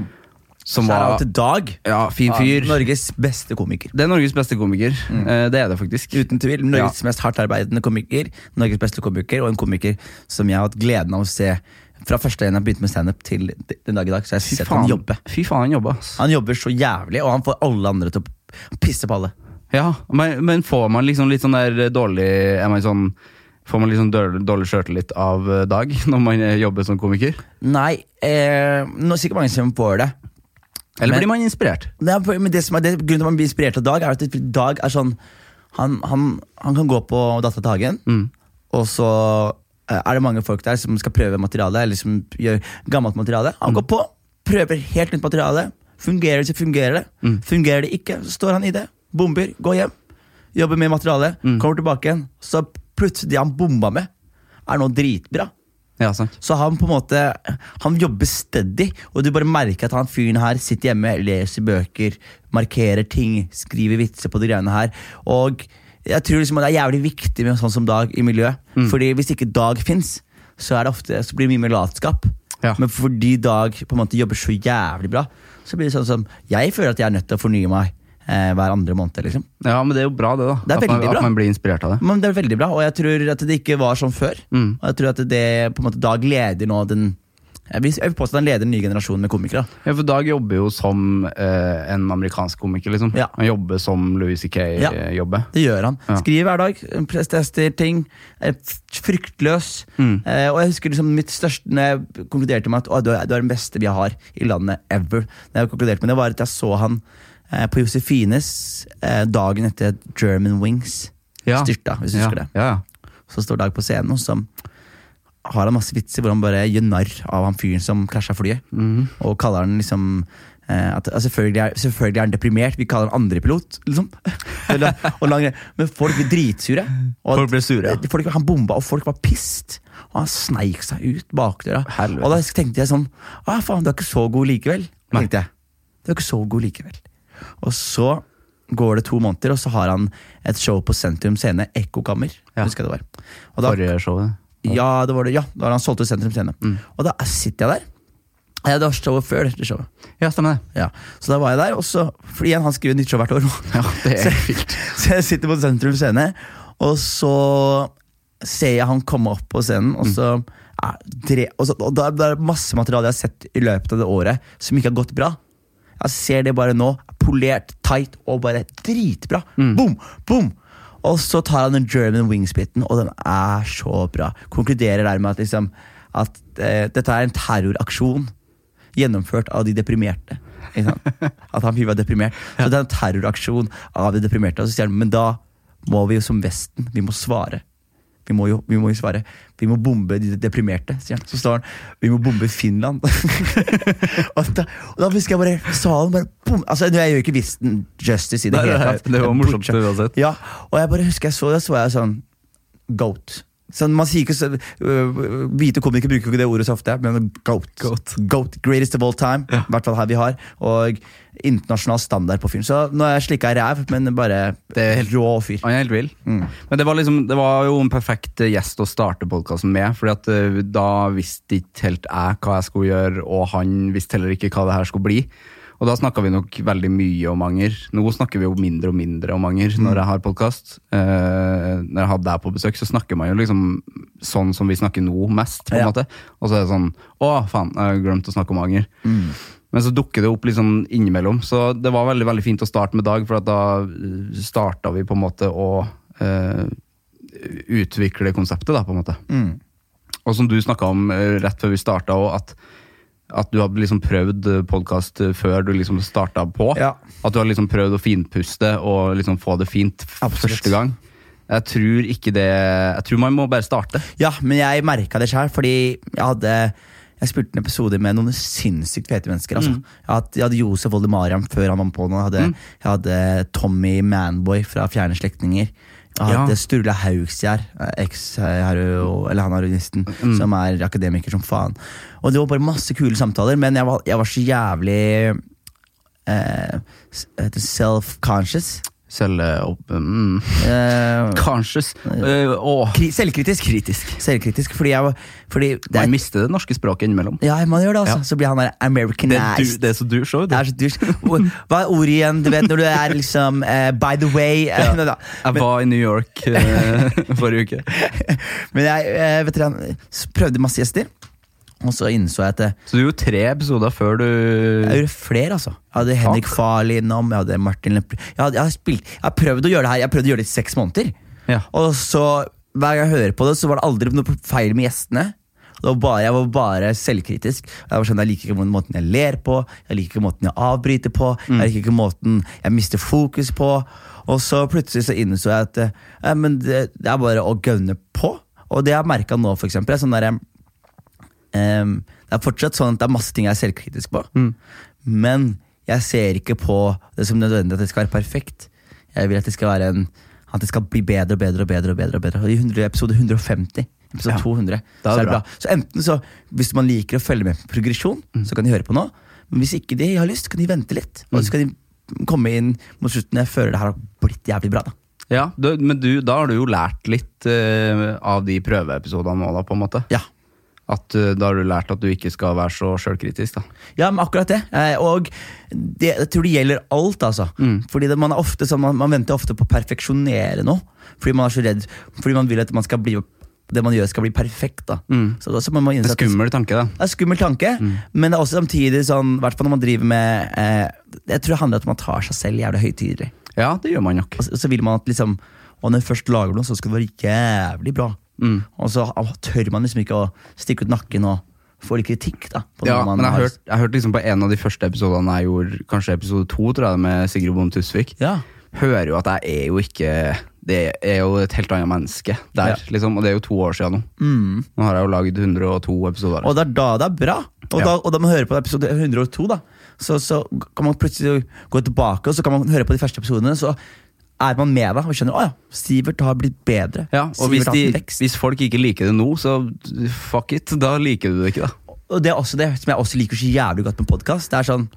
[SPEAKER 2] Som
[SPEAKER 1] Så er det
[SPEAKER 2] var
[SPEAKER 1] alltid Dag.
[SPEAKER 2] ja, fin fyr.
[SPEAKER 1] Norges beste komiker.
[SPEAKER 2] Det er Norges beste komiker. Eh, det er det faktisk.
[SPEAKER 1] Mm. Uten tvil. Norges mest hardtarbeidende komiker. Norges beste komiker, og en komiker som jeg har hatt gleden av å se fra første gang jeg begynte med standup til d- den dag i dag. Så jeg
[SPEAKER 2] Fy
[SPEAKER 1] har sett
[SPEAKER 2] faen,
[SPEAKER 1] han jobbe.
[SPEAKER 2] Fy faen, han jobber. ass.
[SPEAKER 1] Han jobber så jævlig, og han får alle andre til å pisse på alle.
[SPEAKER 2] Ja, men, men får man liksom litt sånn der dårlig er man sånn, Får man litt sånn dårlig, dårlig sjøltillit av eh, Dag når man eh, jobber som komiker?
[SPEAKER 1] Nei, eh, nå er det sikkert mange som får det.
[SPEAKER 2] Eller
[SPEAKER 1] Men-
[SPEAKER 2] blir man inspirert?
[SPEAKER 1] Det er, men det som er det, grunnen til at man blir inspirert av Dag, er at det- Dag er sånn Han, han, han kan gå på Dattera til Hagen, og så eh, er det mange folk der som skal prøve materiale, eller som gjør gammelt materiale. Han går på, prøver helt nytt materiale. Fungerer det, så fungerer det. Fungerer det ikke, så står han i det. Bomber, går hjem. Jobber med materialet, kommer tilbake igjen. Så plutselig det han bomba med, er nå dritbra.
[SPEAKER 2] Ja, sant.
[SPEAKER 1] Så han på en måte Han jobber steady, og du bare merker at han fyren her sitter hjemme, leser bøker, markerer ting, skriver vitser på de greiene her. Og jeg tror liksom at det er jævlig viktig med sånn som Dag i miljøet. Fordi hvis ikke Dag fins, så, er det ofte- så blir det mye mer latskap.
[SPEAKER 2] Ja.
[SPEAKER 1] Men fordi Dag på en måte jobber så jævlig bra, så blir det sånn som Jeg føler at jeg er nødt til å fornye meg eh, hver andre måned. liksom
[SPEAKER 2] Ja, men det er jo bra, det, da.
[SPEAKER 1] Det er
[SPEAKER 2] at, man,
[SPEAKER 1] veldig bra.
[SPEAKER 2] at man blir inspirert av det.
[SPEAKER 1] men det er veldig bra, og jeg tror at det ikke var sånn før.
[SPEAKER 2] Mm.
[SPEAKER 1] Og jeg tror at det på en måte Dag leder nå den Jeg vil jeg vil påstå at han leder den nye generasjonen med komikere. da.
[SPEAKER 2] Ja, for Dag jobber jo som eh, en amerikansk komiker, liksom.
[SPEAKER 1] Ja.
[SPEAKER 2] Han jobber som Louis C.K.
[SPEAKER 1] Ja.
[SPEAKER 2] eh, jobber.
[SPEAKER 1] Det gjør han.
[SPEAKER 2] Ja.
[SPEAKER 1] Skriver hver dag, pres- tester ting. er f- Fryktløs.
[SPEAKER 2] Mm.
[SPEAKER 1] Eh, og jeg husker liksom mitt største Når jeg konkluderte med at «Å, du er, du er den beste vi har i landet ever, Når jeg konkluderte med det var at jeg så han eh, på Josefines eh, dagen etter at German Wings
[SPEAKER 2] Ja.
[SPEAKER 1] styrta, hvis du
[SPEAKER 2] ja.
[SPEAKER 1] husker det.
[SPEAKER 2] Ja, ja.
[SPEAKER 1] Så står Dag på scenen, og så har han masse vitser hvor han bare gjør narr av han fyren som krasja flyet.
[SPEAKER 2] Mhm.
[SPEAKER 1] Og kaller han liksom eh, at, altså, selvfølgelig, er, selvfølgelig er han deprimert, vi kaller han andrepilot. Liksom. Eller- og lang- Men folk ble dritsure. Og at-
[SPEAKER 2] Folk ble sure, ja.
[SPEAKER 1] eh, folk- han bomba, og folk var pissed. Og han sneik seg ut bakdøra.
[SPEAKER 2] Helvete.
[SPEAKER 1] Og da tenkte jeg sånn Å, faen, du er ikke så god likevel.
[SPEAKER 2] Nei.
[SPEAKER 1] Tenkte jeg. Du er ikke så god likevel. Og så går det to måneder, og så har han et show på Sentrum Scene, Ekkokammer.
[SPEAKER 2] Ja.
[SPEAKER 1] Husker jeg det var. Og da
[SPEAKER 2] Forrige showet.
[SPEAKER 1] ja, det var det. Ja, da har han solgt ut Sentrum Scene. Og da sitter jeg der. Eh, Det var showet før dette showet.
[SPEAKER 2] Ja, stemmer det.
[SPEAKER 1] Ja. Så da var jeg der, og så For igjen, han skriver nytt show hvert år.
[SPEAKER 2] Ja, det er
[SPEAKER 1] Så-
[SPEAKER 2] vilt.
[SPEAKER 1] Så jeg sitter på Sentrum Scene, og så ser jeg han komme opp på scenen,
[SPEAKER 2] Mm.
[SPEAKER 1] og så er dre, og, så, og da, da er det masse materiale jeg har sett i løpet av det året som ikke har gått bra. Jeg ser det bare nå. Polert, tight og bare dritbra.
[SPEAKER 2] Mm.
[SPEAKER 1] Boom! Boom! Og så tar han den German wings-biten, og den er så bra. Konkluderer der med at, liksom, at eh, dette er en terroraksjon gjennomført av de deprimerte. Ikke sant? At han fyren var deprimert. Så det er en terroraksjon av de deprimerte. Og så sier han, men da må vi jo som Vesten, vi må svare. Vi må jo, vi må jo svare. Vi må bombe de deprimerte, sier han. Så står han, vi må bombe Finland. og, da, og da husker jeg bare salen bare bom. Altså, jeg gjør ikke Vesten justice i det
[SPEAKER 2] Nei,
[SPEAKER 1] hele
[SPEAKER 2] nei,
[SPEAKER 1] tatt.
[SPEAKER 2] det var morsomt uansett.
[SPEAKER 1] Ja, og jeg bare husker jeg så det, så var jeg sånn Goat. Sånn, man sier ikke så, øh, Hvite komikere bruker jo ikke det ordet så ofte, men goat.
[SPEAKER 2] Goat.
[SPEAKER 1] Greatest of all time. I
[SPEAKER 2] Ja.
[SPEAKER 1] hvert fall her vi har. Og internasjonal standard på fyren. Så nå er jeg slikka ræv, men bare
[SPEAKER 2] Det er helt-
[SPEAKER 1] rå fyr.
[SPEAKER 2] Han er helt vill.
[SPEAKER 1] Mm.
[SPEAKER 2] Men det var, liksom, det var jo en perfekt eh, gjest å starte podkasten med, Fordi at eh, da visste ikke helt jeg hva jeg skulle gjøre, og han visste heller ikke hva det her skulle bli. Og da snakka vi nok veldig mye om anger. Nå snakker vi jo mindre og mindre om anger
[SPEAKER 1] Mm.
[SPEAKER 2] når jeg har podkast. når jeg hadde deg på besøk, så snakker man jo liksom sånn som vi snakker nå mest, på en
[SPEAKER 1] Ja.
[SPEAKER 2] måte. Og så er det sånn Å, faen, jeg har glemt å snakke om anger.
[SPEAKER 1] Mm.
[SPEAKER 2] Men så dukker det opp litt sånn innimellom. Så det var veldig veldig fint å starte med Dag, for at da starta vi på en måte å eh, utvikle konseptet, da, på en måte.
[SPEAKER 1] Mm.
[SPEAKER 2] Og som du snakka om eh, rett før vi starta, at, at du hadde liksom prøvd podkast før du liksom starta på.
[SPEAKER 1] Ja.
[SPEAKER 2] At du hadde liksom prøvd å finpuste og liksom få det fint f-
[SPEAKER 1] Absolutt.
[SPEAKER 2] første gang. Jeg tror ikke det Jeg tror man må bare starte.
[SPEAKER 1] Ja, men jeg merka det sjøl, fordi jeg hadde jeg spilte en episode med noen sinnssykt fete mennesker. Altså.
[SPEAKER 2] Mm.
[SPEAKER 1] Jeg, hadde, jeg hadde Josef Oldemariam før han var på nå. Jeg hadde, jeg hadde Tommy Manboy fra Fjerne slektninger. Jeg
[SPEAKER 2] Ja.
[SPEAKER 1] hadde Sturla Haugsgjerd, eh, eks- hero- eller han heroinisten,
[SPEAKER 2] Mm.
[SPEAKER 1] som er akademiker som faen. Og det var bare masse kule samtaler, men jeg var, jeg var så jævlig eh, s- heter det self-conscious.
[SPEAKER 2] Selge opp mm.
[SPEAKER 1] Eh,
[SPEAKER 2] Conscious. Eh, åh.
[SPEAKER 1] kri- selvkritisk.
[SPEAKER 2] Kritisk.
[SPEAKER 1] Selvkritisk, fordi jeg var fordi det er-
[SPEAKER 2] Man mister det norske språket innimellom.
[SPEAKER 1] Ja, man gjør det, altså.
[SPEAKER 2] Ja.
[SPEAKER 1] Så blir han der
[SPEAKER 2] Det er, du,
[SPEAKER 1] americanized.
[SPEAKER 2] det er så du ser
[SPEAKER 1] Det er så dusj. Hva er ordet igjen? Du vet når du er liksom eh, By the way. eh,
[SPEAKER 2] Ja.
[SPEAKER 1] nei da.
[SPEAKER 2] Jeg var i New York eh, forrige uke.
[SPEAKER 1] Men jeg eh, vet dere, han s- prøvde masse gjester, og så innså jeg at eh,
[SPEAKER 2] Så du gjorde tre episoder før du
[SPEAKER 1] jeg gjorde flere, altså. Jeg hadde Henrik Farley innom, jeg hadde Martin Lepre jeg, hadde, jeg, har spilt, jeg har prøvd å gjøre det her Jeg har prøvd å gjøre det i seks måneder.
[SPEAKER 2] Ja.
[SPEAKER 1] Og så, hver gang jeg hører på det, så var det aldri noe feil med gjestene. Det var bare, jeg var bare selvkritisk. Jeg var sånn, jeg liker ikke måten jeg ler på, jeg liker ikke måten jeg avbryter på, jeg liker ikke måten jeg mister fokus på. Og så plutselig så innså jeg at eh, men det, det er bare å gønne på. Og det jeg har merka nå, for eksempel, er sånn der, em, det er fortsatt sånn at det er masse ting jeg er selvkritisk på. Men jeg ser ikke på det som nødvendig at det skal være perfekt. Jeg vil at det skal være en At det skal bli bedre og bedre og bedre. Og bedre og bedre Og i 100 episode 150 Episode 200.
[SPEAKER 2] Da er
[SPEAKER 1] Så, er
[SPEAKER 2] det
[SPEAKER 1] det bra. så enten så, hvis man liker å følge med på progresjon, så kan de høre på nå. Men hvis ikke de har lyst, kan de vente litt. Og så kan de komme inn mot slutten når jeg føler det her har blitt jævlig bra. da.
[SPEAKER 2] Ja, du, men du, da har du jo lært litt eh, av de prøveepisodene nå, da, på en måte.
[SPEAKER 1] Ja.
[SPEAKER 2] At eh, da har du lært at du ikke skal være så sjølkritisk, da.
[SPEAKER 1] Ja, men akkurat det. Eh, Og det, jeg tror det gjelder alt, altså.
[SPEAKER 2] Mm.
[SPEAKER 1] Fordi det, man, er ofte, sånn, man, man venter ofte på å perfeksjonere noe. Fordi man er så redd. Fordi man vil at man skal bli, det man gjør, skal bli perfekt. da. Så, da- så må man
[SPEAKER 2] Mm.
[SPEAKER 1] innse
[SPEAKER 2] Det er Mm.
[SPEAKER 1] at det
[SPEAKER 2] skummel tanke, da.
[SPEAKER 1] det er en skummel tanke, men det er også samtidig sånn, i hvert fall når man driver med eh, Jeg tror det handler om at man tar seg selv jævlig høytidelig.
[SPEAKER 2] Ja, det gjør man nok.
[SPEAKER 1] Og så, så vil man at liksom Og når jeg først lager noe, så skal det være jævlig bra.
[SPEAKER 2] Mm.
[SPEAKER 1] Og så ah, tør man liksom ikke å stikke ut nakken og få litt kritikk. da. på
[SPEAKER 2] Ja,
[SPEAKER 1] noe man
[SPEAKER 2] men jeg
[SPEAKER 1] har-
[SPEAKER 2] hørte jeg hørte liksom på en av de første episodene jeg gjorde, kanskje episode to, tror jeg, med Sigrid Bonde Tusvik.
[SPEAKER 1] Ja.
[SPEAKER 2] Hører jo at jeg er jo ikke Det er jo et helt annet menneske der,
[SPEAKER 1] Ja.
[SPEAKER 2] liksom. Og det er jo to år siden nå.
[SPEAKER 1] Mm.
[SPEAKER 2] Nå har jeg jo lagd 102 episoder.
[SPEAKER 1] Og det er da det er bra. Og,
[SPEAKER 2] Ja.
[SPEAKER 1] da, og da man hører på episode 102, da, så, så kan man plutselig gå tilbake og så kan man høre på de første episodene. Så er man med da og skjønner at ja, Sivert har blitt bedre.
[SPEAKER 2] Ja, og
[SPEAKER 1] Sivert
[SPEAKER 2] hvis,
[SPEAKER 1] har hatt en
[SPEAKER 2] de,
[SPEAKER 1] vekst.
[SPEAKER 2] hvis folk ikke liker det nå, så fuck it. Da liker du det ikke, da.
[SPEAKER 1] Og det er også det som jeg også liker så jævlig godt med podkast. Sånn,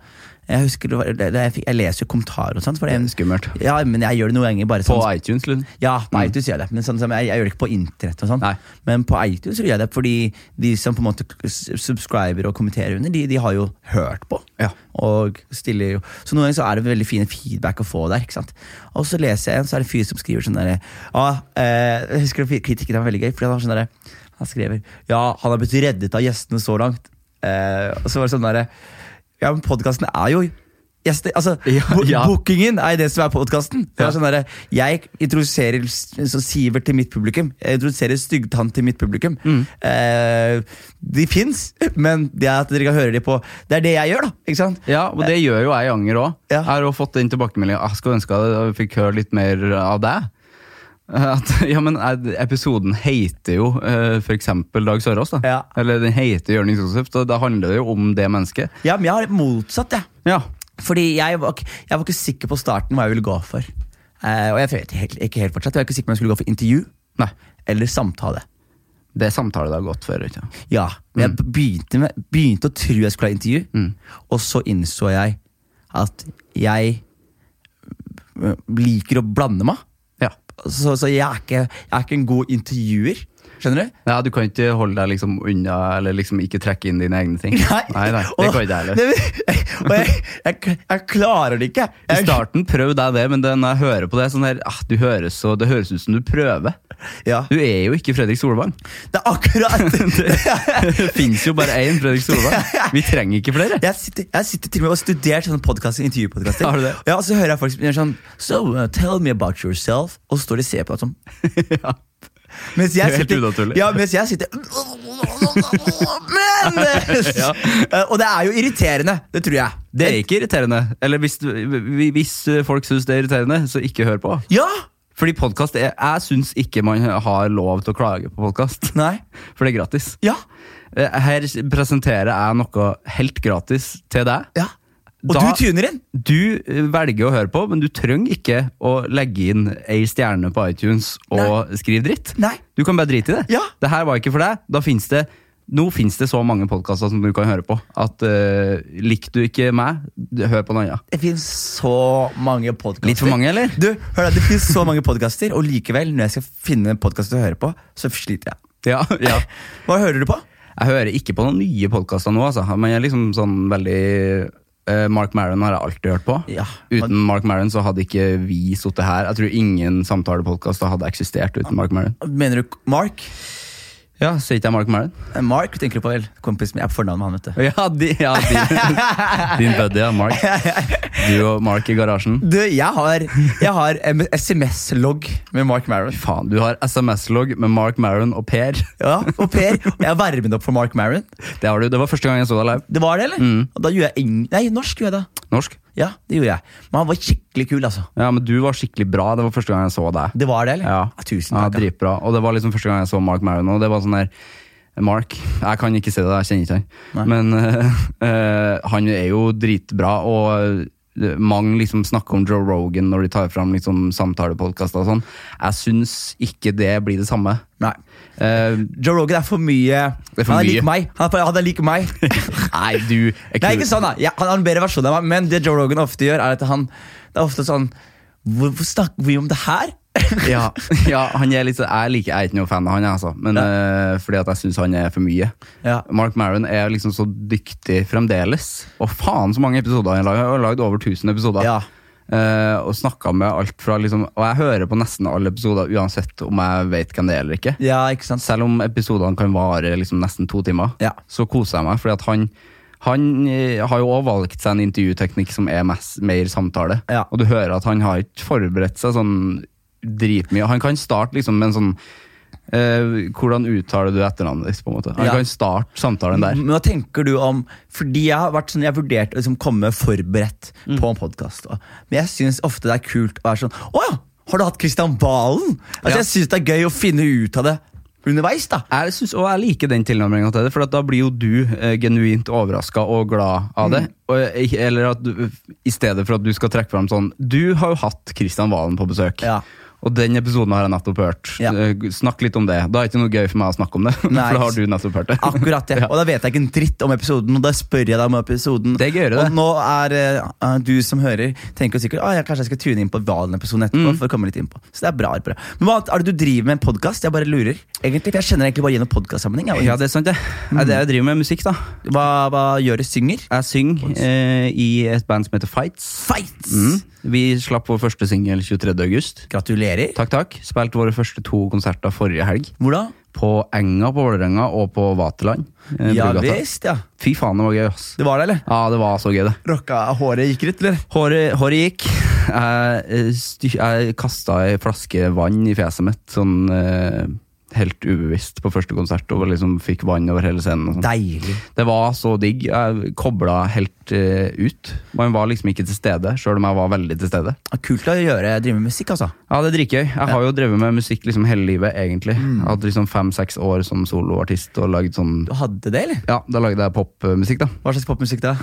[SPEAKER 1] jeg husker det var, det, det, jeg, fikk- jeg leser jo kommentarer og sånt. For det, er en-
[SPEAKER 2] Skummelt.
[SPEAKER 1] ja, men jeg gjør det noen ganger bare
[SPEAKER 2] På
[SPEAKER 1] sånn.
[SPEAKER 2] iTunes, liksom.
[SPEAKER 1] Ja, på
[SPEAKER 2] Mm.
[SPEAKER 1] iTunes gjør jeg det, men sånn som jeg, jeg gjør det ikke på internett. og sånn
[SPEAKER 2] Nei.
[SPEAKER 1] Men på iTunes så gjør jeg det fordi de som på en måte s- subscriber og kommenterer under, de, de har jo hørt på.
[SPEAKER 2] Ja.
[SPEAKER 1] Og stiller jo Så noen ganger så er det veldig fine feedback å få der. ikke sant Og så leser jeg en, så er det en fyr som skriver sånn derre ah, eh, Jeg husker det- kritikken var veldig gøy, fordi han var sånn derre Han skriver Ja, han har blitt reddet av gjestene så langt. Eh, og så var det sånn derre Ja, men podkasten er jo Gjester, altså,
[SPEAKER 2] Ja,
[SPEAKER 1] bo-
[SPEAKER 2] ja.
[SPEAKER 1] Bookingen er jo det som er podkasten.
[SPEAKER 2] Ja.
[SPEAKER 1] Sånn derre, jeg introduserer s- så Sivert til mitt publikum. Jeg introduserer Styggtann til mitt publikum. Eh, de fins, men det er at dere kan høre de på Det er det jeg gjør, da. Ikke sant?
[SPEAKER 2] Ja, og det gjør jo jeg i Anger òg.
[SPEAKER 1] Ja.
[SPEAKER 2] Jeg har jo fått den tilbakemeldinga. Jeg skulle ønske jeg fikk høre litt mer av deg. At, ja, men eh, Episoden heter jo eh, for eksempel Dag Sørås. da.
[SPEAKER 1] Ja.
[SPEAKER 2] Eller den heter Jørning Sosef, og da handler det jo om det mennesket.
[SPEAKER 1] Ja, men jeg har motsatt, jeg.
[SPEAKER 2] Ja,
[SPEAKER 1] Fordi jeg var, ikke- jeg var ikke sikker på starten hva jeg ville gå for. Eh, og jeg vet helt, ikke helt fortsatt. Jeg var ikke sikker på om jeg skulle gå for intervju
[SPEAKER 2] Nei,
[SPEAKER 1] eller samtale.
[SPEAKER 2] det er samtale det har gått for. Ikke? sant?
[SPEAKER 1] Ja, men
[SPEAKER 2] Mm.
[SPEAKER 1] jeg begynte, med, begynte å tro jeg skulle ha intervju, og så innså jeg at jeg øh, liker å blande meg.
[SPEAKER 2] Ja.
[SPEAKER 1] Så, så jeg, er ikke, jeg er ikke en god intervjuer. Skjønner du?
[SPEAKER 2] ja, Du kan ikke holde deg liksom unna, eller liksom ikke trekke inn dine egne ting. nei, nei Det
[SPEAKER 1] og-
[SPEAKER 2] kan ikke jeg heller.
[SPEAKER 1] Nei, men- og jeg, jeg, jeg klarer det ikke.
[SPEAKER 2] I
[SPEAKER 1] Jeg,
[SPEAKER 2] starten prøvde jeg det, men det, når jeg hører på det, sånn her, ah, du høres så, det høres ut som du prøver.
[SPEAKER 1] ja,
[SPEAKER 2] Du er jo ikke Fredrik Solvang.
[SPEAKER 1] det er akkurat
[SPEAKER 2] Det fins jo bare én Fredrik Solvang. Vi trenger ikke flere.
[SPEAKER 1] jeg sitter, jeg sitter til og med og studert sånne podcaster, intervjupodcaster.
[SPEAKER 2] Har du det?
[SPEAKER 1] Ja, og så hører jeg folk som gjør sånn So, uh, tell me about yourself. Og så står de og ser på deg sånn.
[SPEAKER 2] Ja.
[SPEAKER 1] Mens jeg
[SPEAKER 2] Det er helt
[SPEAKER 1] sitter,
[SPEAKER 2] unaturlig.
[SPEAKER 1] Ja, mens jeg sitter Men!
[SPEAKER 2] Ja.
[SPEAKER 1] Eh, Og det er jo irriterende, det tror jeg.
[SPEAKER 2] Det er ikke irriterende. Eller hvis, du- hvi- hvis folk syns det er irriterende, så ikke hør på.
[SPEAKER 1] Ja!
[SPEAKER 2] Fordi podcast er Jeg syns ikke man har lov til å klage på podkast.
[SPEAKER 1] Nei.
[SPEAKER 2] For det er gratis.
[SPEAKER 1] Ja.
[SPEAKER 2] Eh, Her presenterer jeg noe helt gratis til deg.
[SPEAKER 1] ja. Og
[SPEAKER 2] Da-
[SPEAKER 1] du tuner inn!
[SPEAKER 2] Du eh, velger å høre på, men du trenger ikke å legge inn ei stjerne på iTunes og skrive dritt.
[SPEAKER 1] Nei.
[SPEAKER 2] Du kan bare drite i det.
[SPEAKER 1] Ja.
[SPEAKER 2] Det her var ikke for deg. Da finnes det nå finnes det så mange podkaster som du kan høre på, at uh, likte du ikke meg, hør på noen annen.
[SPEAKER 1] Det fins så mange podkaster.
[SPEAKER 2] Litt for mange, eller?
[SPEAKER 1] Du, hør da, Det finnes så mange podkaster, og likevel, når jeg skal finne en podkast å høre på, så sliter jeg.
[SPEAKER 2] Ja, ja.
[SPEAKER 1] Hva hører du på?
[SPEAKER 2] Jeg hører ikke på noen nye podkaster nå, altså. Men jeg er liksom sånn veldig eh, Mark Maron har jeg alltid hørt på.
[SPEAKER 1] Ja.
[SPEAKER 2] Uten Mark Maron så hadde ikke vi sittet her. Jeg tror ingen samtalepodkaster hadde eksistert uten Mark Maron.
[SPEAKER 1] Mener du Mark?
[SPEAKER 2] Ja, sier ikke jeg Mark Maron?
[SPEAKER 1] Eh, Mark tenker du på, vel? Kompis min. Jeg er på fornavn med han, vet du.
[SPEAKER 2] Ja, di- ja, din, din buddy, ja, Mark. Du og Mark i garasjen.
[SPEAKER 1] Du, jeg har, jeg har en SMS-logg med Mark Maron.
[SPEAKER 2] Faen, du har SMS-logg med Mark Maron og Per.
[SPEAKER 1] Ja, og Per, og jeg varmet opp for Mark Maron.
[SPEAKER 2] Det har du, det var første gang jeg så deg live.
[SPEAKER 1] Det var det, eller?
[SPEAKER 2] Mm.
[SPEAKER 1] Og da gjorde jeg eng Nei, norsk gjorde jeg da.
[SPEAKER 2] Norsk.
[SPEAKER 1] Ja, det gjorde jeg. Men han var skikkelig kul, altså.
[SPEAKER 2] Ja, men du var skikkelig bra. Det var første gang jeg så deg.
[SPEAKER 1] Det var det, eller?
[SPEAKER 2] Ja,
[SPEAKER 1] Tusen
[SPEAKER 2] ja
[SPEAKER 1] takk. Ja,
[SPEAKER 2] dritbra. Og det var liksom første gang jeg så Mark Maron. Og det var sånn der Mark, jeg kan ikke se det, jeg kjenner ikke han. Men eh, eh, han er jo dritbra, og eh, mange liksom snakker om Joe Rogan når de tar fram liksom samtalepodkaster og sånn. Jeg syns ikke det blir det samme.
[SPEAKER 1] Nei.
[SPEAKER 2] Eh,
[SPEAKER 1] Joe Rogan er for mye.
[SPEAKER 2] er for
[SPEAKER 1] han er
[SPEAKER 2] mye.
[SPEAKER 1] lik meg. Han er, for- han er lik meg.
[SPEAKER 2] nei, du er
[SPEAKER 1] Det er ikke sånn da ja, Han har en bedre versjon av meg Men det Joe Rogan ofte gjør Er at han Det er ofte sånn Hvorfor snakker vi om det her?
[SPEAKER 2] Ja, ja han er litt, så- jeg, liker, jeg er ikke noe fan av han, jeg, altså. Men, eh, fordi at jeg syns han er for mye.
[SPEAKER 1] Ja.
[SPEAKER 2] Mark Maron er liksom så dyktig fremdeles. Og faen så mange episoder han har lagd. Han har lagd over 1000 episoder.
[SPEAKER 1] Ja.
[SPEAKER 2] Eh, og snakka med alt fra liksom Og jeg hører på nesten alle episoder uansett om jeg vet hvem det er eller ikke.
[SPEAKER 1] Ja, ikke sant?
[SPEAKER 2] Selv om episodene kan vare liksom nesten to timer,
[SPEAKER 1] Ja.
[SPEAKER 2] så koser jeg meg. Fordi at han, han eh, har jo også valgt seg en intervjuteknikk som er mest, mer samtale.
[SPEAKER 1] Ja.
[SPEAKER 2] Og du hører at han har ikke forberedt seg sånn dritmye. Han kan starte liksom med en sånn eh, Hvordan uttaler du etternavnet ditt, på en måte. Han
[SPEAKER 1] Ja.
[SPEAKER 2] kan starte samtalen der.
[SPEAKER 1] Men hva tenker du om Fordi jeg har vært sånn Jeg har vurdert å liksom komme forberedt
[SPEAKER 2] Mm.
[SPEAKER 1] på en podcast og- Men jeg synes ofte det er kult Å være sånn Åja, har du hatt Kristian Valen? Altså
[SPEAKER 2] Ja.
[SPEAKER 1] jeg synes det er gøy å finne ut av det Underveis da
[SPEAKER 2] Jeg synes, og jeg liker den tilnærmingen til det, for at da blir jo du eh, genuint overraska og glad av det.
[SPEAKER 1] Mm.
[SPEAKER 2] Og, eh, eller at du, I stedet for at du skal trekke fram sånn Du har jo hatt Kristian Valen på besøk.
[SPEAKER 1] Ja.
[SPEAKER 2] Og den episoden har jeg nettopp hørt.
[SPEAKER 1] Ja.
[SPEAKER 2] Eh, Snakk litt om det. Da er det ikke noe gøy for meg å snakke om det.
[SPEAKER 1] Nei.
[SPEAKER 2] For da har du nettopp hørt det.
[SPEAKER 1] Akkurat, ja. Og da vet jeg ikke en dritt om episoden, og da spør jeg deg om episoden.
[SPEAKER 2] Det er gøyere, det.
[SPEAKER 1] Og nå er eh, du som hører, tenker jo sikkert at jeg kanskje jeg skal tune inn på Valen-episoden
[SPEAKER 2] Mm.
[SPEAKER 1] etterpå. for å komme litt inn på. Så det er bra. bra. Men hva er det du driver med en podkast? Jeg bare lurer. egentlig, for Jeg kjenner egentlig bare gjennom podkastsammenheng.
[SPEAKER 2] Ja,
[SPEAKER 1] jeg.
[SPEAKER 2] det er sant, det.
[SPEAKER 1] Mm.
[SPEAKER 2] Det er det jeg driver med musikk, da.
[SPEAKER 1] Hva, hva gjør du? Synger?
[SPEAKER 2] Jeg synger eh, i et band som heter Fights.
[SPEAKER 1] Fights!
[SPEAKER 2] Mm. Vi slapp vår første singel 23. august.
[SPEAKER 1] Gratulerer.
[SPEAKER 2] Takk, takk. Spilte våre første to konserter forrige helg.
[SPEAKER 1] Hvor da?
[SPEAKER 2] På Enga på Vålerenga og på Vaterland. eh,
[SPEAKER 1] Ja
[SPEAKER 2] Brugata.
[SPEAKER 1] visst, ja.
[SPEAKER 2] Fy faen, det var gøy, ass.
[SPEAKER 1] Det var det, eller?
[SPEAKER 2] Ja, det var så gøy, det.
[SPEAKER 1] Rocka håret gikk litt, eller?
[SPEAKER 2] Håret, håret gikk. Jeg, eh, sty- jeg kasta ei flaske vann i fjeset mitt, sånn eh, helt ubevisst på første konsert, og liksom fikk vann over hele scenen. Og sånn.
[SPEAKER 1] Deilig.
[SPEAKER 2] det var så digg. Jeg kobla helt eh, ut. Man var liksom ikke til stede, sjøl om jeg var veldig til stede.
[SPEAKER 1] Ja, Kult å gjøre, drive med musikk, altså.
[SPEAKER 2] Ja, det er dritgøy. Jeg har jo drevet med musikk liksom hele livet, egentlig. Jeg hadde liksom fem-seks år som soloartist og lagd sånn
[SPEAKER 1] Du hadde det, eller?
[SPEAKER 2] Ja, da lagde jeg popmusikk, da.
[SPEAKER 1] Hva slags popmusikk da?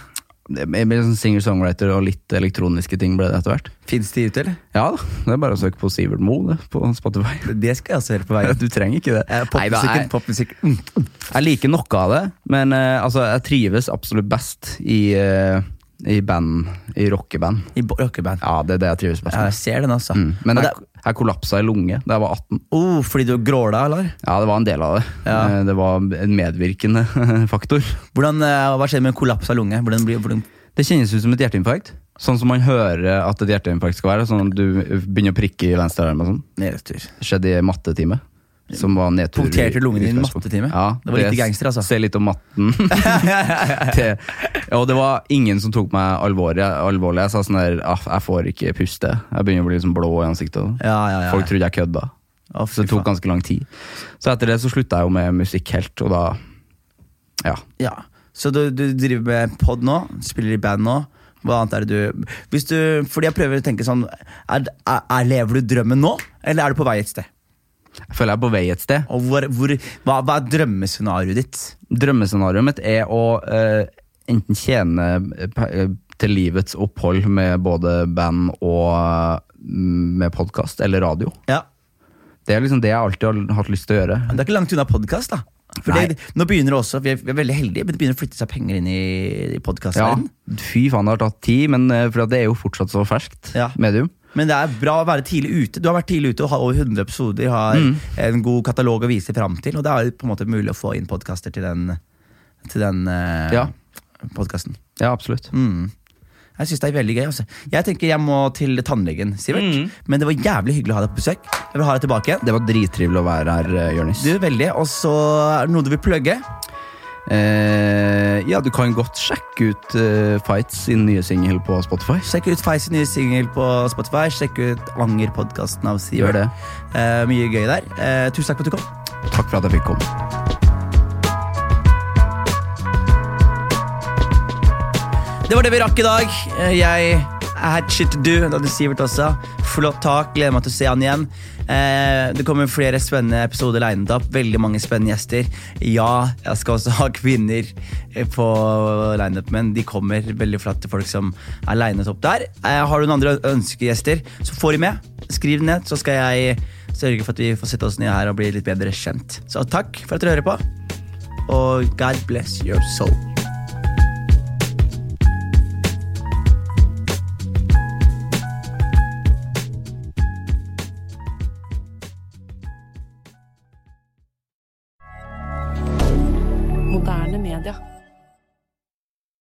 [SPEAKER 2] Det er mer sånn Singer-songwriter og litt elektroniske ting ble det etter hvert.
[SPEAKER 1] Fins de ute, eller?
[SPEAKER 2] Ja da, det er bare å søke på Sivert Moe det, på Spotify.
[SPEAKER 1] Det skal jeg også høre på veien.
[SPEAKER 2] Du trenger ikke det.
[SPEAKER 1] Eh,
[SPEAKER 2] Neida,
[SPEAKER 1] Popmusikken,
[SPEAKER 2] jeg,
[SPEAKER 1] popmusikk. Mm.
[SPEAKER 2] jeg liker noe av det, men eh, altså, jeg trives absolutt best i, eh, i band, i rockeband.
[SPEAKER 1] I bo- rockeband.
[SPEAKER 2] Ja, det er det jeg trives best
[SPEAKER 1] Ja, jeg
[SPEAKER 2] med.
[SPEAKER 1] ser den, altså.
[SPEAKER 2] Mm. Men
[SPEAKER 1] Og
[SPEAKER 2] jeg, jeg kollapsa i lunge da jeg var 18.
[SPEAKER 1] det, oh, fordi du gråla, eller?
[SPEAKER 2] Ja, det var en del av det.
[SPEAKER 1] Ja.
[SPEAKER 2] Eh, Det var en medvirkende faktor.
[SPEAKER 1] Hvordan, eh, hva skjer med en kollaps av lunge? Hvordan blir, hvordan,
[SPEAKER 2] Det kjennes ut som et hjerteinfarkt. Sånn som man hører at et hjerteinfarkt skal være. Sånn at du begynner å prikke i venstre arm og sånn.
[SPEAKER 1] nedtur.
[SPEAKER 2] skjedde i mattetime. Som var nedtur.
[SPEAKER 1] Punkterte
[SPEAKER 2] i-
[SPEAKER 1] lungen din i
[SPEAKER 2] utgangspunkt.
[SPEAKER 1] mattetime?
[SPEAKER 2] Ja,
[SPEAKER 1] Det var litt gangster, altså.
[SPEAKER 2] Se litt om matten. Til- og det var ingen som tok meg alvorlig. alvorlig. Jeg sa sånn der «Ah, Jeg får ikke puste. Jeg begynner å bli liksom blå i ansiktet. og-
[SPEAKER 1] Ja, ja, ja.
[SPEAKER 2] Folk trodde jeg kødda.
[SPEAKER 1] Å,
[SPEAKER 2] Så
[SPEAKER 1] fy
[SPEAKER 2] det tok
[SPEAKER 1] faen.
[SPEAKER 2] ganske lang tid. Så etter det så slutta jeg jo med musikk helt, og da Ja.
[SPEAKER 1] ja. Så du, du driver med pod nå? Spiller i band nå? Hva annet er det du Hvis du Fordi jeg prøver å tenke sånn er, er, er, Lever du drømmen nå, eller er du på vei et sted?
[SPEAKER 2] Jeg føler jeg er på vei et sted.
[SPEAKER 1] Og hvor, hvor, hva, hva er drømmescenarioet ditt?
[SPEAKER 2] Drømmescenarioet mitt er å eh, enten tjene eh, pe- eh, til livets opphold med både band og mm, med podkast eller radio.
[SPEAKER 1] Ja
[SPEAKER 2] Det er liksom det jeg alltid har hatt lyst til å gjøre.
[SPEAKER 1] Men Det er ikke langt unna podkast, da. For
[SPEAKER 2] Nei.
[SPEAKER 1] det, nå begynner det også, vi er, vi er veldig heldige, men det begynner å flytte seg penger inn i, i
[SPEAKER 2] Ja,
[SPEAKER 1] podkastverdenen.
[SPEAKER 2] fy faen, det har tatt tid, men eh, for at det er jo fortsatt så ferskt
[SPEAKER 1] Ja.
[SPEAKER 2] medium.
[SPEAKER 1] Men det er bra å være tidlig ute. Du har vært tidlig ute og har over 100 episoder. Har en god katalog å vise fram til, og det er på en måte mulig å få inn podkaster til den, til den eh,
[SPEAKER 2] Ja.
[SPEAKER 1] podkasten.
[SPEAKER 2] Ja, absolutt.
[SPEAKER 1] Mm. Jeg syns det er veldig gøy. Altså. Jeg tenker jeg må til tannlegen, Sivert.
[SPEAKER 2] Mm.
[SPEAKER 1] Men det var jævlig hyggelig å ha deg på besøk. Jeg vil ha deg tilbake igjen.
[SPEAKER 2] Det var drittrivelig å være her, eh, Jonis.
[SPEAKER 1] Du, veldig. Og så er det noe du vil plugge.
[SPEAKER 2] Eh, ja, du kan godt sjekke ut eh, Fights sin nye singel på Spotify.
[SPEAKER 1] Sjekk ut Feis nye singel på Spotify. Sjekk ut Anger-podkasten av Sivert.
[SPEAKER 2] Gjør det.
[SPEAKER 1] Eh, mye gøy der. Eh, tusen takk for at du kom.
[SPEAKER 2] Takk for at jeg fikk komme.
[SPEAKER 1] Det var det vi rakk i dag. Eh, Jeg er shit du, det hadde Sivert også. Flott tak, gleder meg til å se han igjen. Eh, Det kommer flere spennende episoder legnet opp. Veldig mange spennende gjester. Ja, jeg skal også ha kvinner eh, på lineup, men de kommer veldig flatt til folk som er linet opp der. Eh, Har du noen andre ønskegjester, så får de med. Skriv det ned, så skal jeg sørge for at vi får sette oss ned her og bli litt bedre kjent. Så takk for at dere hører på, og God bless your soul.
[SPEAKER 3] Moderne media.